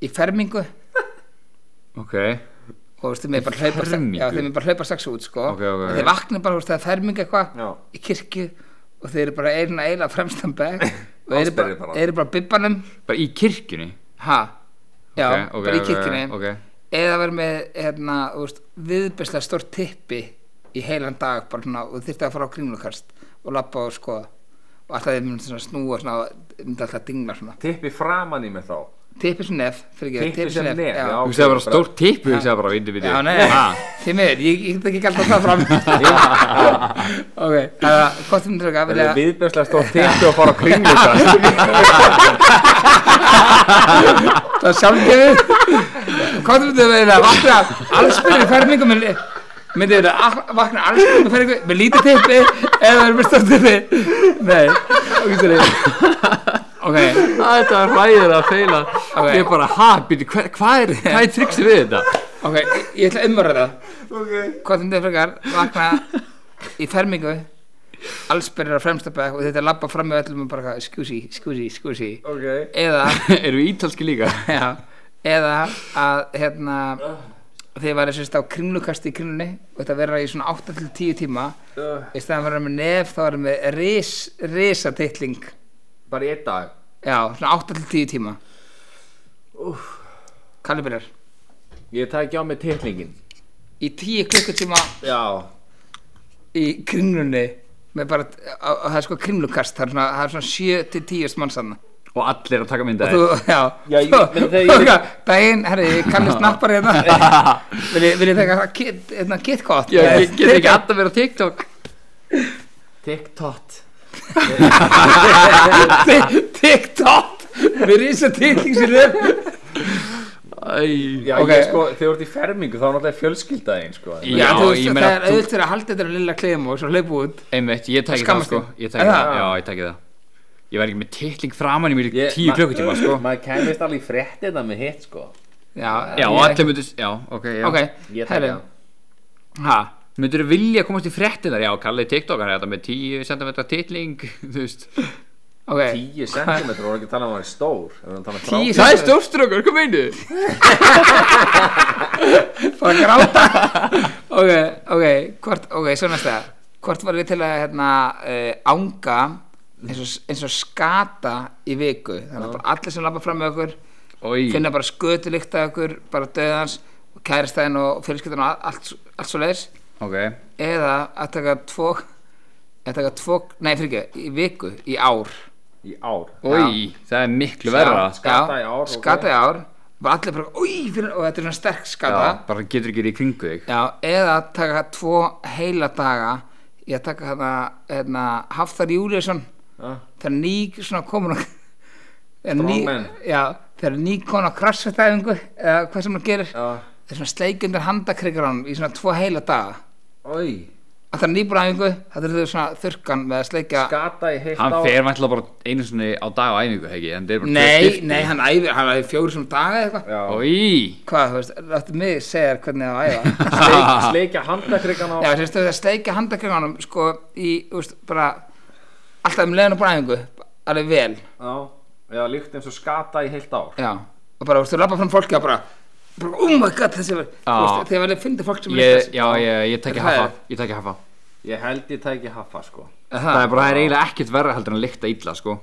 Speaker 2: í fermingu
Speaker 1: Ok,
Speaker 2: og þú veist, þið með bara hlaupa
Speaker 1: Fermingu?
Speaker 2: já, þið með bara hlaupa strax út, sko
Speaker 1: Ok, ok, ok.
Speaker 2: En þið vakna bara, þú veist, það er ferming eitthvað
Speaker 3: já
Speaker 2: í kirkju og þeir eru bara eina eila fremstan bæk og eru bara,
Speaker 3: Allsbergir bara.
Speaker 2: eru bara bibbanum
Speaker 1: bara í kirkjunni
Speaker 2: ha, já,
Speaker 1: Ok, ok,
Speaker 2: bara í
Speaker 1: ok,
Speaker 2: kirkjunni
Speaker 1: ok.
Speaker 2: eða verið með hérna, þú veist, viðbæslega stórt tippi í heilan dag bara svona, og þurfti að fara á kringlukast og labba og skoða og alltaf þeir myndi svona snúa svona, og myndi alltaf dingla svona
Speaker 3: Tippi framan í mig þá
Speaker 2: tippi sem nef, fyrir ekki,
Speaker 3: Typpi sem nef, já.
Speaker 1: Þú segði bara stór tippu, þú segði bara vindu við
Speaker 2: Já, nei, þið meður, ég, ég get ekki gælt að það fram Ok, það er hvort um dröka
Speaker 3: Það er viðbjörslega stór tippi og fara á kringlu
Speaker 2: Það er sjálfgefið Hvað myndir þau að vakna allsbyrði fermingu með myndir þau að vakna allsbyrði með fermingu með lítið tippi eða verður með stórt tippi Nei, ok, sorry Ok,
Speaker 1: Þetta var hræðir að feila
Speaker 2: Ok.
Speaker 1: Ég bara, ha, byrju, hva- hvað er, hvað er triksi við þetta?
Speaker 2: ok, ég- ég ætla að umræða okay. Hvað myndir þau frekar vakna í fermingu allsbyrðir á fremsta bekk og þetta er labba fram með öllum og bara skjúsi, skjúsi, skjúsi
Speaker 3: Ok
Speaker 2: eða,
Speaker 1: Erum við ítalski líka?
Speaker 2: já, eða að hérna þið væri sérst á kringlukasti í kringlunni og þetta vera í svona 8-10 tíma
Speaker 3: uh,
Speaker 2: í staðan fyrir að vera með nef þá erum við ris, risatitling
Speaker 3: Bara í einn dag
Speaker 2: já, svona 8-10 tíma Kalli byrjar
Speaker 3: Ég tæki á mig titlingin
Speaker 2: í 10 klukkutíma
Speaker 3: Já
Speaker 2: í kringlunni með bara, á- á- það er sko kringlukast það er svona, það er svona 7-10 mannsanna
Speaker 1: Og allir að taka mynda
Speaker 2: þú, já,
Speaker 3: Já, ég- menn þegar ég-
Speaker 2: ég... daginn, herri, Kalli snappar hérna viljið vilji taka það get, hérna, get gott
Speaker 1: Ég ég get ekki alltaf verið á TikTok
Speaker 3: TikTok
Speaker 2: TikTok Við rísa tikling sér upp
Speaker 1: Æ,
Speaker 3: Já,
Speaker 2: Ok.
Speaker 3: ég sko, þegar þú ert í fermingu þá er náttúrulega fjölskylda einn sko
Speaker 1: Já,
Speaker 2: Já, þú veist,
Speaker 1: ég
Speaker 2: það
Speaker 1: meina
Speaker 2: er
Speaker 1: þú-
Speaker 2: auðvitað að halda þetta á lilla klefum og svo hlaupa út
Speaker 1: Einmitt, ég tæki það
Speaker 2: Skammast
Speaker 1: sko
Speaker 2: þín.
Speaker 1: Ég tæki
Speaker 2: Já.
Speaker 1: það, já, ég tæki það Ég væri ekki með titling framan í mér í
Speaker 3: Ég-
Speaker 1: tíu
Speaker 3: ma-
Speaker 1: klukkutíma sko
Speaker 3: Maður kemist alveg í fréttina með hitt sko
Speaker 2: Já,
Speaker 1: Já,
Speaker 2: ég-
Speaker 1: og allir myndir, já, ok, já
Speaker 2: Ok,
Speaker 3: Ég
Speaker 2: herri,
Speaker 3: tæki það
Speaker 2: ha
Speaker 1: Myndir þú vilja komast í fréttinar, já, kallið TikTokar Þetta með 10 cm titling, þú veist
Speaker 2: Ok,
Speaker 3: 10 cm og ekki að tala um að hann er stór Ef við erum að tala um frá-
Speaker 2: 10
Speaker 1: Það er stórstrókur, hvað meinu?
Speaker 2: Fara að gráta Ok, ok, hvort, ok, svo næsta Hvort var ég til að hérna uh, anga eins og, eins og skata í viku Þannig að bara allir sem labba fram með okkur
Speaker 1: Ói,
Speaker 2: finna bara skötulikt af okkur, bara döðans og kæristæðin og fyrirskiptan og allt, allt svo leiðis
Speaker 1: ok
Speaker 2: eða að taka tvo að taka tvo, nei fyrir ekki í viku, í ár
Speaker 3: Í ár
Speaker 1: Ói, það er miklu verra sko.
Speaker 2: Já,
Speaker 3: skata í
Speaker 2: já,
Speaker 3: ár,
Speaker 2: skata í ár bara allir bara, oi, fyrir, og þetta er svona sterk skata já.
Speaker 1: Já, bara getur ekki í kringu þig
Speaker 2: eða að taka tvo heila daga ég að taka hana, hérna Hafþar Júliusson
Speaker 3: Ah.
Speaker 2: þegar ný, svona komin og þegar ný-
Speaker 3: Strongman.
Speaker 2: já, þegar ný komin á krassfættæfingu eða hvað sem hann gerir
Speaker 3: Já
Speaker 2: þeir svona sleikjundir handakrigar hann í svona tvo heila daga
Speaker 3: Oi
Speaker 2: að það er nýbúræðingu, það er þau svona þurrkan með að sleikja
Speaker 3: Skata í heilt
Speaker 1: Hann
Speaker 3: ár
Speaker 1: fer vantilega bara einu sinni á dag á æfingu, hegi En það er bara
Speaker 2: Nei, nei, hann æfir, hann æfir fjóri sem daga eða eitthvað
Speaker 3: Já
Speaker 1: Ói,
Speaker 2: Hvað, þú veist, láttu mig segja þér hvernig það á að æfa
Speaker 3: Sleik- Sleikja handakryggana
Speaker 2: Já, sérstu, það sleikja handakringanum, sko, í, þú veist, bara Alltaf um leiðan og bræðingu, alveg vel
Speaker 3: Já Já, líkt eins og skata í heilt ár
Speaker 2: Já, og bara, þú veist, þú labba fram fólki og bara Bara, oh my god, þessi var, þú veist, þegar vel ég fyndi fólk sem
Speaker 1: ég,
Speaker 2: lyftast.
Speaker 1: já, ég, ég tæki
Speaker 2: En það er-
Speaker 1: hafa Ég tæki hafa
Speaker 3: Ég held ég tæki haffa sko
Speaker 1: Það er bara, það er eiginlega ekkert verra heldur en að lykta illa, sko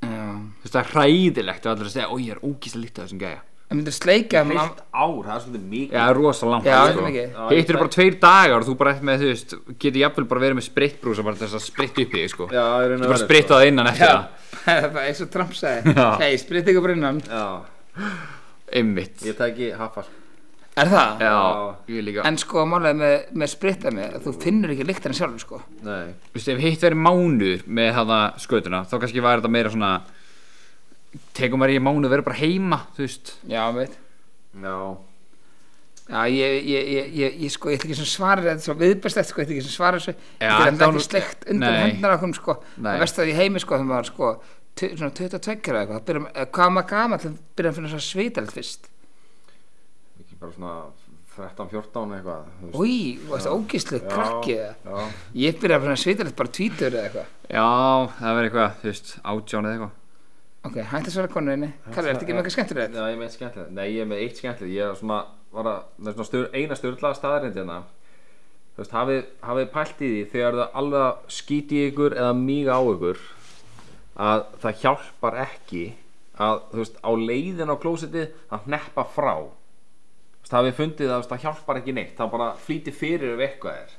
Speaker 2: Já,
Speaker 1: Þú veist, það er hræðilegt og allir að segja, ói, ég er ógíslega líkt af þessum gæja
Speaker 2: en myndir sleikja
Speaker 3: Heilt ár, það er svolítið
Speaker 1: Já,
Speaker 3: mikið
Speaker 1: það er rosa langt
Speaker 2: Já,
Speaker 1: sko.
Speaker 2: þetta er mikið.
Speaker 3: Já,
Speaker 1: Hitt
Speaker 3: ég
Speaker 1: eru bara tveir dagar og þú bara eftir með, þú veist, getur jafnvel bara verið með spritbrúsa bara til þess að spritta upp í þig, sko
Speaker 3: Já,
Speaker 1: Þú
Speaker 3: ég reyna
Speaker 1: bara spritta það innan eftir það
Speaker 2: Það er svo trampsaði
Speaker 1: Já.
Speaker 2: Hei, sprit ykkur brinnan
Speaker 3: Já,
Speaker 1: Einmitt
Speaker 3: ég tæki haffa sko
Speaker 2: Er það?
Speaker 1: Já,
Speaker 3: Já.
Speaker 1: ég líka
Speaker 2: En sko, málega með, með spritta mig, þú finnur ekki líkt henni sjálfur, sko
Speaker 3: Nei
Speaker 1: Þú veist, ef hitt verið mánuður með þaða skötuna þá kannski var þetta meira svona tegum maður í mánuð verið bara heima þú veist
Speaker 2: Já, veit
Speaker 3: Já
Speaker 2: Já, ég, ég, ég, ég, ég sko, ég ætla ekki sem svara þetta er svo viðbestlegt, sko, ég ætla ekki sem svara þessu
Speaker 1: Já,
Speaker 2: þetta er enda
Speaker 1: þá-
Speaker 2: ekki slegt undir
Speaker 1: nei.
Speaker 2: hendunar okkur, sko
Speaker 1: Nei.
Speaker 2: það verst að ég heimi, sko, þegar maður, sko tu- svona 22 eða eitthvað, þá byrjum, eh, hvað maður gama til að byrja að finna svo svitald fyrst
Speaker 3: Ekki bara svona 13-14 eitthvað þú veist.
Speaker 2: Új, það er ógíslu,
Speaker 3: Já,
Speaker 2: krakki eða.
Speaker 3: Já
Speaker 2: ég byrja að finna svitald bara tvítur eða eitthvað
Speaker 1: Já, það verið eitthvað, þú veist, átján eða eitthvað
Speaker 2: ok, hægt að svara konuðinni, Kalli, ertu ekki með eitthvað skemmtilegt?
Speaker 3: Já, ég er með eitt skemmtilegt Nei, ég er með eitt skemmtilegt Ég er svona, var að, það er svona styr, eina styrlaða staðarind hérna Þú veist, hafið, hafið pælt í því þegar það alveg að skýti ykkur eða míga á ykkur að það hjálpar ekki að, þú veist, á leiðin á klósitið að hneppa frá Þú veist, hafið fundið að þú veist, það hjálpar ekki neitt það bara flýti fyrir ef eitthvað er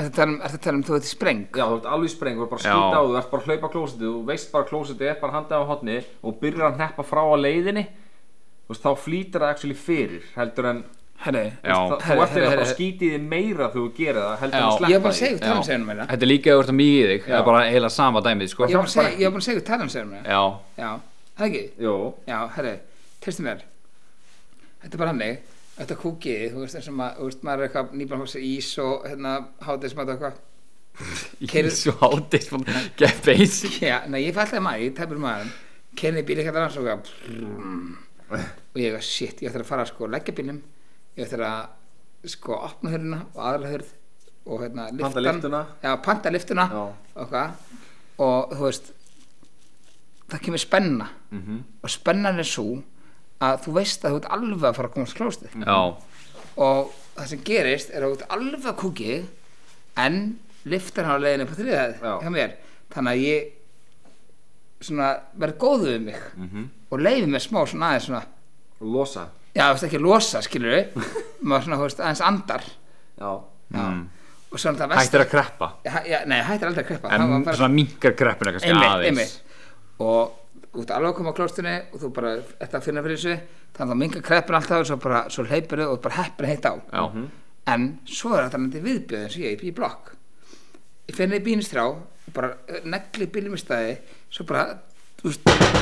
Speaker 2: Ertu að tala um, ertu að tala um þú veit í spreng?
Speaker 3: Já, þú ert alveg sprengur, bara
Speaker 1: Já.
Speaker 3: skýta á þú, þú ert bara að hlaupa á klósitið, þú veist bara að klósitið er bara handað á hotni og byrjar að neppa frá á leiðinni þú veist, þá flýtir það actually fyrir heldur en
Speaker 2: Herri,
Speaker 1: Já,
Speaker 3: það,
Speaker 2: Herri,
Speaker 3: þú ert
Speaker 2: herri,
Speaker 3: eða bara
Speaker 2: herri.
Speaker 3: skítið þið meira þegar þú gerir það heldur
Speaker 1: Já.
Speaker 3: en að
Speaker 2: ég var bara
Speaker 3: sleppa
Speaker 2: að segja, tala um segja um hérna
Speaker 1: Þetta er líka að þú ert að mýja þig, það er bara eiginlega sama dæmið, sko
Speaker 2: ég var bara að segja- ég var bara að segja, tala um segja um hérna
Speaker 1: Já,
Speaker 2: já, það ekki?
Speaker 3: Jú,
Speaker 2: Já, herri, treystu mér Þetta er bara hannig Þetta kúkið, þú veist eins og maður, þú veist, maður er eitthvað nýbæðan hósa ís og hérna hátismat og eitthvað
Speaker 1: ég
Speaker 2: Keyrið-
Speaker 1: er svo hátist Get basic
Speaker 2: Já, nei, ég fætti að maður, ég tæpur maður Kerni bíl eitthvað annars og eitthvað Og ég eitthvað, shit, ég ætla að fara sko að leggja bílnum Ég ætla að sko opna hörðina og aðra hörð og hérna lyftan
Speaker 3: Panta lyftuna.
Speaker 2: Já, panta lyftuna
Speaker 3: Já.
Speaker 2: og eitthvað
Speaker 3: Mhm.
Speaker 2: Og þú veist, það kemur spenna og spennan er svo að þú veist að þú ert alveg að fara að komast klóstið
Speaker 1: Já,
Speaker 2: og það sem gerist er að þú ert alveg kúkið en liftar hann á leiðinu upp á þriðað
Speaker 3: Já.
Speaker 2: hjá mér þannig að ég svona verð góðu við mig
Speaker 1: Mhm.
Speaker 2: og leiði mér smá svona aðeins svona
Speaker 3: Losa
Speaker 2: já, þú veist ekki losa, skilur við maður svona, þú veist, aðeins andar
Speaker 3: Já
Speaker 2: já. og svona það versta-
Speaker 1: Mm. hættir að kreppa
Speaker 2: Hæ- já, nei, hættir aldrei að kreppa Það var
Speaker 1: En
Speaker 2: bara-
Speaker 1: svona minkar kreppuna kannski
Speaker 2: einmitt,
Speaker 1: aðeins
Speaker 2: einmitt og út alveg að koma á klóstunni og þú bara ert að finna fyrir þessu þannig að minga kreppin alltaf og svo, bara, svo hleypir þau og bara heppin heitt á
Speaker 1: Já,
Speaker 2: Mhm. en svo er þetta nætti viðbjöð eins og ég í blokk ég finn í bínistrá og bara eh, negli bílum í staði svo bara þú veist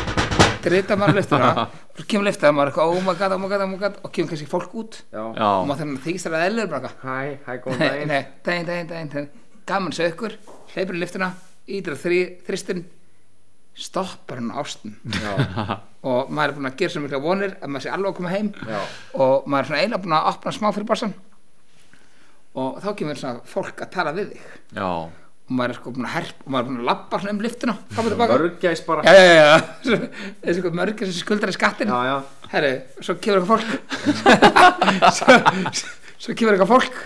Speaker 2: drita maður lyftuna og svo kemur lyftaði maður eitthvað oh my god, oh my god, oh my god og kemur kannski fólk út
Speaker 3: Já
Speaker 1: já
Speaker 2: og maður þannig að þykist þar að eðlur bara eitthvað,
Speaker 3: Hæ, hæ, góðan
Speaker 2: Nei,
Speaker 3: daginn
Speaker 2: nei, daginn, daginn, daginn, daginn gaman sér ykkur, hleypur í liftuna ítir á þrý, þristin stoppar hann ástin
Speaker 3: Já,
Speaker 2: og maður er búinn að gera svo mikla vonir að maður sé alveg að koma heim
Speaker 3: já
Speaker 2: og maður er svona eiginlega búinn að opna smá fyrir barsan og þá kemur svona fólk að tala við þig
Speaker 1: Já,
Speaker 2: og maður er sko búinn að herp og maður er búinn að labba svona um liftuna fram og tilbaka
Speaker 3: Örgæs bara
Speaker 2: já, já, já, já, Svo- þessi sko mörgir sem skuldar í skattin
Speaker 3: Já, já
Speaker 2: herru, svo kemur eitthvað fólk svo, svo, svo kemur eitthvað fólk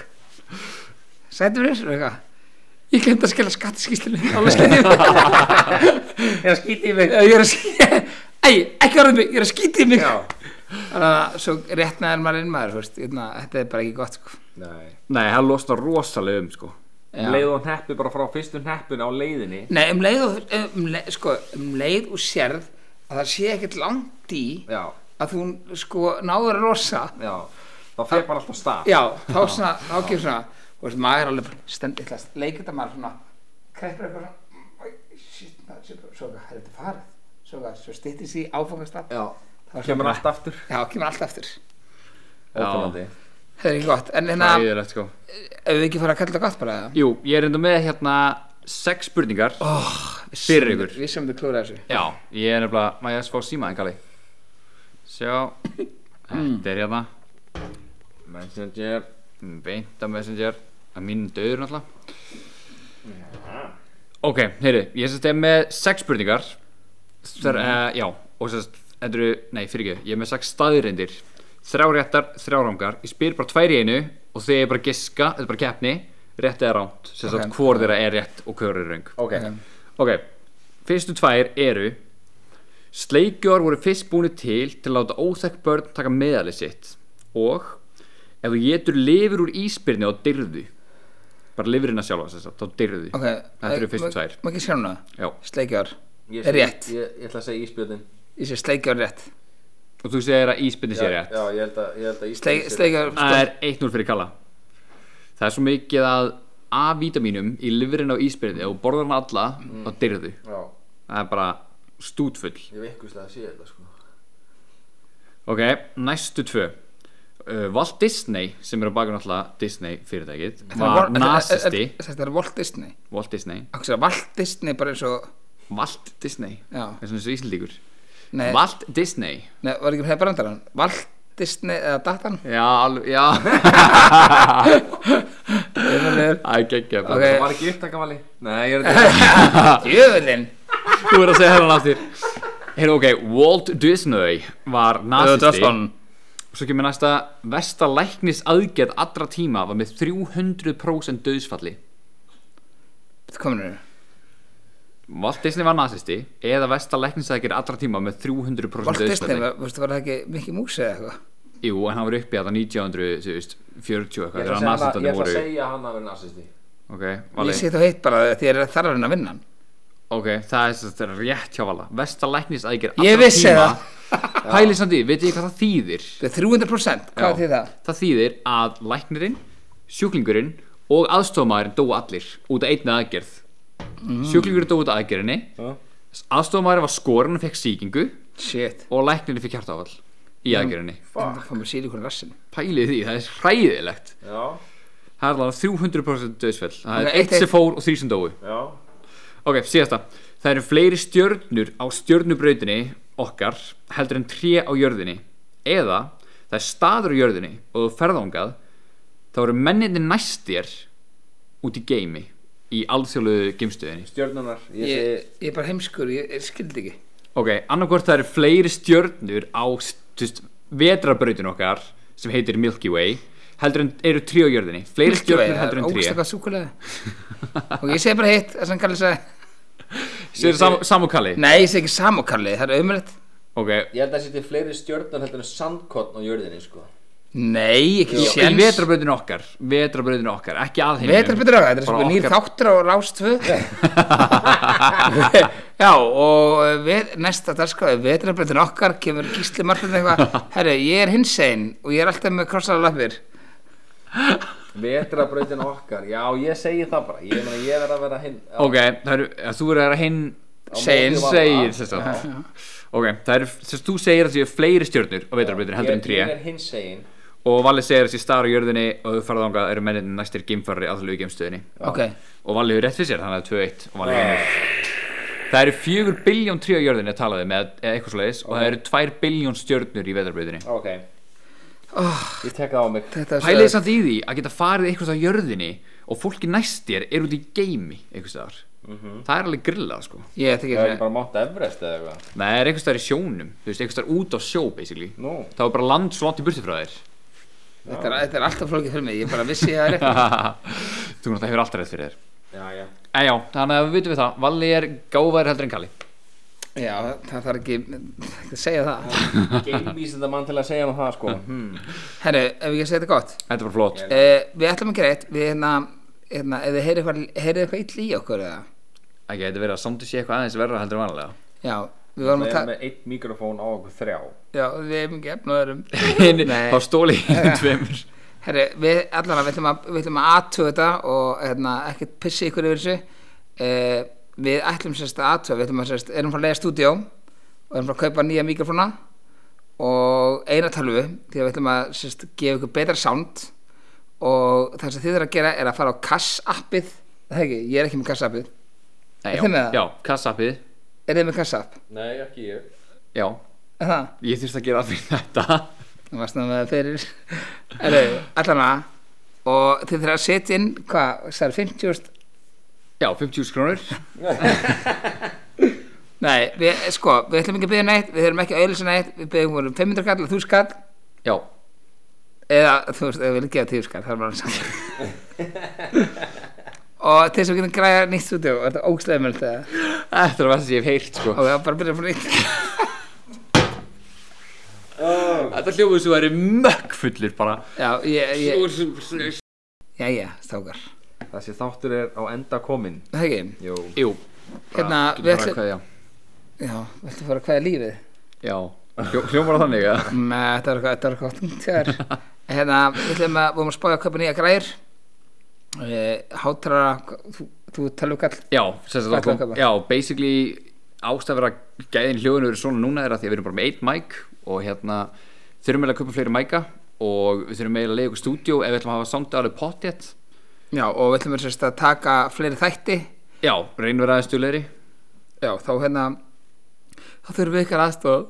Speaker 2: sættum við þessu eitthvað ég glemt að skella skattaskýslinu alveg skýtti mig
Speaker 6: Ég er að skýti í mig
Speaker 2: ég er að skýtti æ, ekki orðið mig, ég er að skýtti mig
Speaker 3: Já
Speaker 2: þannig að svo réttnaður maður inn maður þú veist, hérna, þetta er bara ekki gott sko.
Speaker 3: Nei
Speaker 1: nei, það losna rosalega um sko
Speaker 3: Leið og hneppi bara frá fyrstu hneppin á leiðinni
Speaker 2: nei, um leið og um leið, sko, um leið og sérð að það sé ekkert langt í
Speaker 3: Já,
Speaker 2: að þú sko náður að losa
Speaker 3: já Það fer bara alltaf stað
Speaker 2: já, þá svona, þá kemur svona þú veist, maður er alveg bara stend illa leikir þetta maður svona, kreppir eitthvað svona æ, shit, maður, sé bara- svo hvað, er þetta farið svo hvað, svo styttist í áfangastaf
Speaker 3: Já
Speaker 2: Það er
Speaker 3: Kemur
Speaker 2: svona-
Speaker 3: allt aftur
Speaker 2: já, kemur allt eftir
Speaker 3: Óþolandi.
Speaker 2: það er ekki gott, en hérna,
Speaker 1: Æðilegt sko
Speaker 2: ef við ekki fara að kalla þetta gott bara eða?
Speaker 1: Jú, ég er enda með hérna sex spurningar oh, fyrir ykkur
Speaker 2: við sem þau klúra þessu
Speaker 1: Já, ég er nefnilega, maður ég að fá síma en kalli Sjá,
Speaker 2: Mm.
Speaker 1: þetta er hérna
Speaker 3: Messenger
Speaker 1: beinta messenger að minn döður náttúrulega ok, heyri, ég sérst er með sex spurningar Þar, uh, já, og sérst endur, nei, fyrir ekki, ég er með sex staðirindir þrjá réttar, þrjá rángar ég spyr bara tvær í einu og þegar ég bara giska, þetta er bara keppni rétt eða ránt, sérst okay.
Speaker 2: Ok.
Speaker 1: að hvor þeirra er rétt og hver er röng
Speaker 3: Ok
Speaker 2: Um,
Speaker 1: ok, fyrstu tvær eru Sleikjur voru fyrst búinu til til að láta óþekk börn taka meðalið sitt og ef þú getur lifur úr ísbyrni á dyrðu bara lifurina sjálfa sem sagt, á dyrðu
Speaker 2: ok,
Speaker 1: Þetta eru fyrstu tvær.
Speaker 2: maður ekki sjá hana,
Speaker 1: Já.
Speaker 2: sleikjár
Speaker 3: Ég-
Speaker 2: Er rétt.
Speaker 3: Ég, ég ætla að segja íspjöldin
Speaker 2: ég sé sleikjár rétt
Speaker 1: og þú segir að ísbyrni sé rétt
Speaker 3: Já, ég held að, ég held að
Speaker 2: Sleik,
Speaker 3: íspjöldin
Speaker 2: sleikjár,
Speaker 1: það er 1-0 fyrir kalla það er svo mikið að A-vítamínum í lifurina á ísbyrni og borðar hann alla
Speaker 3: Mm.
Speaker 1: á dyrðu
Speaker 3: Já
Speaker 1: það er bara stútfull
Speaker 3: Ég hef einhverslega að sé þetta sko
Speaker 1: Ok, næstu tvö uh, Walt Disney, sem er á bakgrunn alltaf Disney fyrirtækið, var nazisti
Speaker 2: þetta er Walt Disney
Speaker 1: Walt Disney,
Speaker 2: Akkur, Walt Disney bara eins og
Speaker 1: Walt Disney Eh.
Speaker 2: Já.
Speaker 1: er svona svo íslendíkur
Speaker 2: Nei,
Speaker 1: Walt Disney
Speaker 2: nei var ekki hefbrandar hann Walt Disney eða datan
Speaker 1: Já, alveg, já Það er geggja
Speaker 2: Ok.
Speaker 3: Það var ekki upptakavali Nei, ég er þetta
Speaker 2: Jöfnlinn
Speaker 1: Þú verður að segja hérna aftur Hérna, ok, Walt Disney var nazisti Svo kemur næsta Vesta læknis aðgerð allra tíma var með 300% döðsfalli
Speaker 2: Komin er
Speaker 1: Walt Disney var nazisti eða versta læknisækir allra tíma með 300%
Speaker 2: Walt Disney,
Speaker 1: dauðsfalli.
Speaker 2: var- veistu, var það ekki Mickey Mouse eða eitthvað
Speaker 1: Jú, en hann var uppi að það 1940 eitthvað
Speaker 3: Ég
Speaker 1: þegar
Speaker 3: ætla að segja hana- ég
Speaker 1: nazistandi
Speaker 3: ætla að
Speaker 1: voru
Speaker 3: segja hann að vera nazisti
Speaker 1: Ok,
Speaker 2: Ég
Speaker 1: vali
Speaker 2: sé þú heitt bara því að þér er þar að vinna að vinna hann
Speaker 1: Ok, það er sem þetta rétt hjá vala Versta læknisækir
Speaker 2: Ég
Speaker 1: allra
Speaker 2: vissi
Speaker 1: tíma Pælið samt í, veit ég hvað það þýðir?
Speaker 2: Það er 300% Hvað
Speaker 1: Já.
Speaker 2: þið það?
Speaker 1: Það þýðir að læknirinn, sjúklingurinn og aðstofamæðurinn dóu allir út af einni aðgerð
Speaker 3: Mm.
Speaker 1: Sjúklingurinn dóu út af aðgerðinni Aðstofamæðurinn var skorinn og fekk sýkingu
Speaker 2: Shit
Speaker 1: og læknirinn fekk hjartáfall í aðgerðinni
Speaker 2: Það fór mér síðan í hvernig rassin
Speaker 1: pælið því, það er hræðilegt
Speaker 3: Já,
Speaker 1: það er alveg 300% döðsfell það
Speaker 2: Ok,
Speaker 1: er eitt
Speaker 2: eitt-
Speaker 1: sem fór og þrý sem dói
Speaker 3: já
Speaker 1: ok, síðasta, það eru fleiri stjörnur á stjörnubrautinni okkar heldur en tré á jörðinni eða það er staður á jörðinni og þú ferðangað þá eru menninni næstir út í geimi í alþjóðlegu geimstöðinni
Speaker 3: Stjörnunar Ég segi
Speaker 2: Ég ég er bara heimskur, ég, ég skildi ekki
Speaker 1: ok, annarkvort það eru fleiri stjörnur á tjúst, vetrabrautin okkar sem heitir Milky Way heldur en eru trí á jörðinni fleiri stjörnur heldur en trí
Speaker 2: Ógstaka súkulega Og ég segi bara hitt Það sem kallar þess að
Speaker 1: sér sam, samúkalli
Speaker 2: Nei, ég segi ekki samokallið Það er umrætt
Speaker 1: ok,
Speaker 3: Ég held að það setja fleiri stjörnur heldur en sandkottn á jörðinni sko.
Speaker 2: Nei, ekki
Speaker 1: í, í
Speaker 2: séns
Speaker 1: vetrabrautin okkar vetrabrautin okkar, ekki aðhenginu
Speaker 2: Vetrarbyttur ára, þetta er svona nýr þáttur á Rás 2 Já, og við, næsta dagskráði, vetrarbyttur okkar kemur gísli margirn eitthvað Herru, ég er hinsegin og ég er alltaf með krossaða lappir
Speaker 3: Vetrabrautin okkar, já ég segi það bara Ég, meina, ég verð að vera hinn á-
Speaker 1: ok, það eru, að þú eru að hinn
Speaker 3: á
Speaker 2: segir-
Speaker 3: móti
Speaker 1: segir
Speaker 3: varla.
Speaker 1: sem sagt. ok, það eru, sem sagt, þú segir að það séu fleiri stjörnur á vetrabrautin heldur en
Speaker 3: Ég-
Speaker 1: trí
Speaker 3: Ég er hinn segin
Speaker 1: og Valli segir að þessi star á jörðinni og þú farað ánga eru mennin næstir gimfarri alþjóðu gemstöðinni
Speaker 2: Ok,
Speaker 1: og Valli hefur rétt fyrir sér, þannig að 2-1 og Valli vinnur Það eru 4 biljón trí á jörðinni talaði með eða eitthvað svoleiðis og það eru 2 biljón stjörnur í veðarbröðinni
Speaker 3: Ok
Speaker 2: Ah.
Speaker 3: Ég tek það á mig
Speaker 2: þetta er
Speaker 1: Pæliði samt í því að geta farið eitthvað á jörðinni og fólki næstir er út í geimi eitthvað staðar Það er alveg grillað sko
Speaker 2: Ég ætti
Speaker 3: Ég
Speaker 2: ekki
Speaker 3: er bara mátt Everest eða eitthvað
Speaker 1: Nei, það er eitthvað staðar í sjónum, þú veist, eitthvað staðar út á sjó basically
Speaker 3: Nú
Speaker 1: Það var bara land svo langt í burti frá þér
Speaker 2: Þetta er, þetta er alltaf flókið fyrir mig, ég bara vissi að það er
Speaker 1: Þú veist, það hefur alltaf rétt fyrir þér
Speaker 3: Já, já
Speaker 1: En já, þannig að við vitum við það, Valli er gáfaðir heldur en Kalli
Speaker 2: rétt Já, það þarf ekki, ekki að segja það
Speaker 3: Geimvísinda mann til að segja hann það sko hmm.
Speaker 2: Herru, ef ég segi þetta gott
Speaker 1: Þetta var flott
Speaker 2: uh, Við ætlum að gera eitt, við hérna, hérna ef þið heyrið eitthvað, heyrið eitthvað ill í okkur eða
Speaker 1: Ekki, þetta verið að samt sé eitthvað aðeins verra heldur en vanlega
Speaker 2: Já, við vorum
Speaker 3: Það
Speaker 2: að
Speaker 3: er
Speaker 2: taka
Speaker 3: með eitt mikrofón á okkur þrjá
Speaker 2: Já, við hefum ekki efnaðurum
Speaker 1: Hinn-
Speaker 2: Nei.
Speaker 1: þá stóli hinn tveimur
Speaker 2: Herri, við allan að við ætlum að, við ætlum að aðtöða þetta og hérna, ekkert pissi ykkur yfir þessu uh, Við ætlum sérst að aðtöða, við ætlum að sérst, erum frá að leiða stúdíó og erum frá að kaupa nýja mikrofóna og eina tölvu því að við ætlum að sérst gefa ykkur betra sound og það sem þið þurfum að gera er að fara á kassappið Það er ekki, ég er ekki með kassappið
Speaker 1: Nei,
Speaker 2: Þið með
Speaker 1: já,
Speaker 2: það?
Speaker 1: já kassappið
Speaker 2: Er þið með kassapp?
Speaker 3: Nei, ekki ég
Speaker 1: Já,
Speaker 2: Er það?
Speaker 1: ég þurfti að gera það fyrir þetta
Speaker 2: Það varst nú með það fyrir Erðu, allan að og þið þurfum að setja inn, hvað, það er 50
Speaker 1: Já, 50 krónur
Speaker 2: Nei, við, sko, við ætlum ekki að byggja neitt við þurfum ekki að auðlýsa neitt, við byggjum um 500 kall og 1000 kall
Speaker 1: Já,
Speaker 2: eða, þú veist, ef við viljum gefa 10 kall það er bara saman og til þess að við getum græða nýtt stúdíu og þetta er ógstæðum og það
Speaker 1: þetta er að verða sem ég hef heyrt sko.
Speaker 2: er bara að byrja frá nýtt
Speaker 1: Þetta hljófuð sem væri mökk fullur bara
Speaker 2: Já, ég, ég Já, já, stókar
Speaker 3: Þessi þáttur er á enda komin
Speaker 2: Það er ekki,
Speaker 3: Jú
Speaker 1: Jú,
Speaker 2: hérna,
Speaker 1: getur
Speaker 2: við
Speaker 1: bara
Speaker 2: ætlum
Speaker 1: hvað, já.
Speaker 2: Já, við ætlum að fara að kvæða lífið
Speaker 1: Já, Hljó, hljómar það þannig að
Speaker 2: Nei, þetta var eitthvað, þetta var eitthvað tungt hjá þér. Hérna, við ætlum að, vorum að spája að kaupa nýja græðir Hátrara, þú, þú tölvukall
Speaker 1: Já, sem sagt
Speaker 2: Hvað
Speaker 1: það
Speaker 2: ætlarðu að kaupa?
Speaker 1: kom Já, basically ástæður að gæðin hljóðinu verið svona núna er að því að við erum bara með eitt mæk og hérna þurfum eiginlega að kaupa fleiri mæka og við þurfum eiginlega að leiða ykkur stúdíó ef við ætlum að hafa samt alveg potjett
Speaker 2: Já, og við ætlum að, sérst, að taka fleiri þætti
Speaker 1: Já, reynum við aðeins stjúleiri
Speaker 2: Já, þá hérna þá þurfum við ykkar aðstoð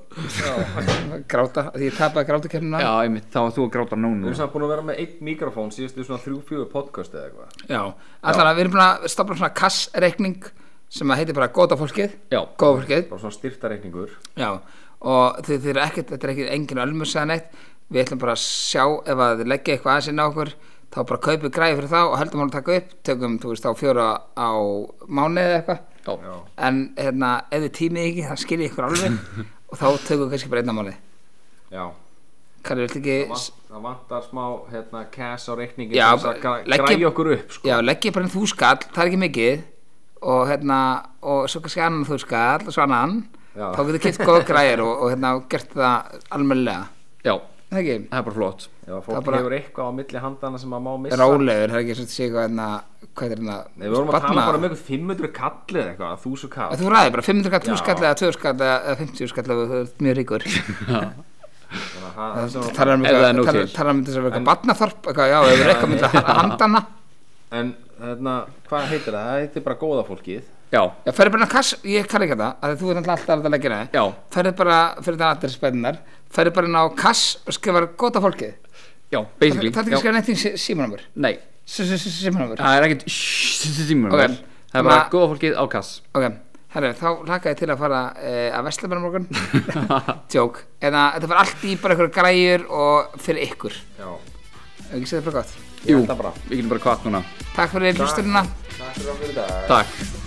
Speaker 2: gráta, því ég tapaði grátakefnina
Speaker 1: Já, einmitt, þá var þú að gráta
Speaker 3: Við
Speaker 1: núna
Speaker 3: erum samt búin að vera með eitt mikrofón síðustu svona þrjú fjögur podcast eða eitthvað
Speaker 2: Já, allan að við erum búin að stoppa svona kassreikning sem að heitir bara góta fólkið
Speaker 1: Já,
Speaker 2: góða fólkið,
Speaker 3: Bara svona styrtareikningur
Speaker 2: já og þau þau eru ekkert, þetta er ekkert engin ölmusaðan neitt, við ætlum bara að sjá ef að þið leggja eitthvað aðeins inn á okkur þá bara kaupið græði fyrir þá og heldum hann að taka upp tökum, þú veist, á fjóra á mánuði eða eitthvað
Speaker 1: já,
Speaker 3: Já
Speaker 2: en hérna, ef þið tímið ekki, það skilji ykkur alveg og þá tökum við kannski bara einna mánuði
Speaker 3: Já
Speaker 2: Kalli, viltu ekki
Speaker 3: Það vant- Það vantar smá hérna cash á reikningin
Speaker 2: Já,
Speaker 3: til þess að
Speaker 2: leggjum-
Speaker 3: græja okkur upp sko
Speaker 2: Já, legg ég bara einn þúskall, það er ekki mikið og hérna, og svo kannski annan þúskall og svo annan
Speaker 3: Já.
Speaker 2: þá getur kipt góð græðir og, og hérna og gert það almennilega,
Speaker 1: já,
Speaker 2: það er ekki
Speaker 1: það er bara flott
Speaker 3: Já, fólk
Speaker 2: bara-
Speaker 3: hefur eitthvað á milli handana sem maður má missa
Speaker 2: rálegur, það er ekki svona að segja eitthvað hérna, hvað er hérna
Speaker 3: Nei, við vorum að tala
Speaker 2: barna-
Speaker 3: bara um eitthvað 500 kall eða eitthvað, 1000 kall
Speaker 2: Að Þú ræðir bara 500 skall, 1000
Speaker 3: Já.
Speaker 2: skall eða 2000 skall eða eða 50 skall ef þú ert mjög ríkur
Speaker 3: Þannig að það- það sem-
Speaker 2: talar um
Speaker 1: Ef það er
Speaker 2: eitthvað
Speaker 1: nóg
Speaker 2: talar-
Speaker 1: til.
Speaker 2: talar um þess að vera eitthvað barnaþorp eitthvað, já, ef þú er eitthvað myndið handana
Speaker 3: En hérna, hvað heitir það? Það heitir bara góða fólkið
Speaker 1: Já,
Speaker 2: Já, ferðu bara inn á kass, ég kann ekki þetta að þú er náttúrulega alltaf að leggja það
Speaker 1: Já.
Speaker 2: ferðu bara, fyrir það allir spennar ferðu bara inn á kass og skrifar gota fólkið
Speaker 1: já,
Speaker 2: það
Speaker 1: basically
Speaker 2: er ekki að skrifa neitt í símanumur
Speaker 1: Nei,
Speaker 2: símanumur
Speaker 1: það er ekkit Shhh, símanúmer.
Speaker 2: Ok.
Speaker 1: Það er bara
Speaker 2: Ma-
Speaker 1: góða fólkið á kass
Speaker 2: ok, Herru, þá lakaði til að fara uh, að vesla með morgun Tjók, en að þetta var allt í bara ykkur græjur og fyrir ykkur
Speaker 3: Já,
Speaker 2: Ef ekki segja það bara gott
Speaker 3: ég held það bara
Speaker 1: Við getum bara kvart núna
Speaker 3: Tá,
Speaker 2: Takk fyrir hlustunina
Speaker 3: Takk fyrir okkur í dag
Speaker 1: Takk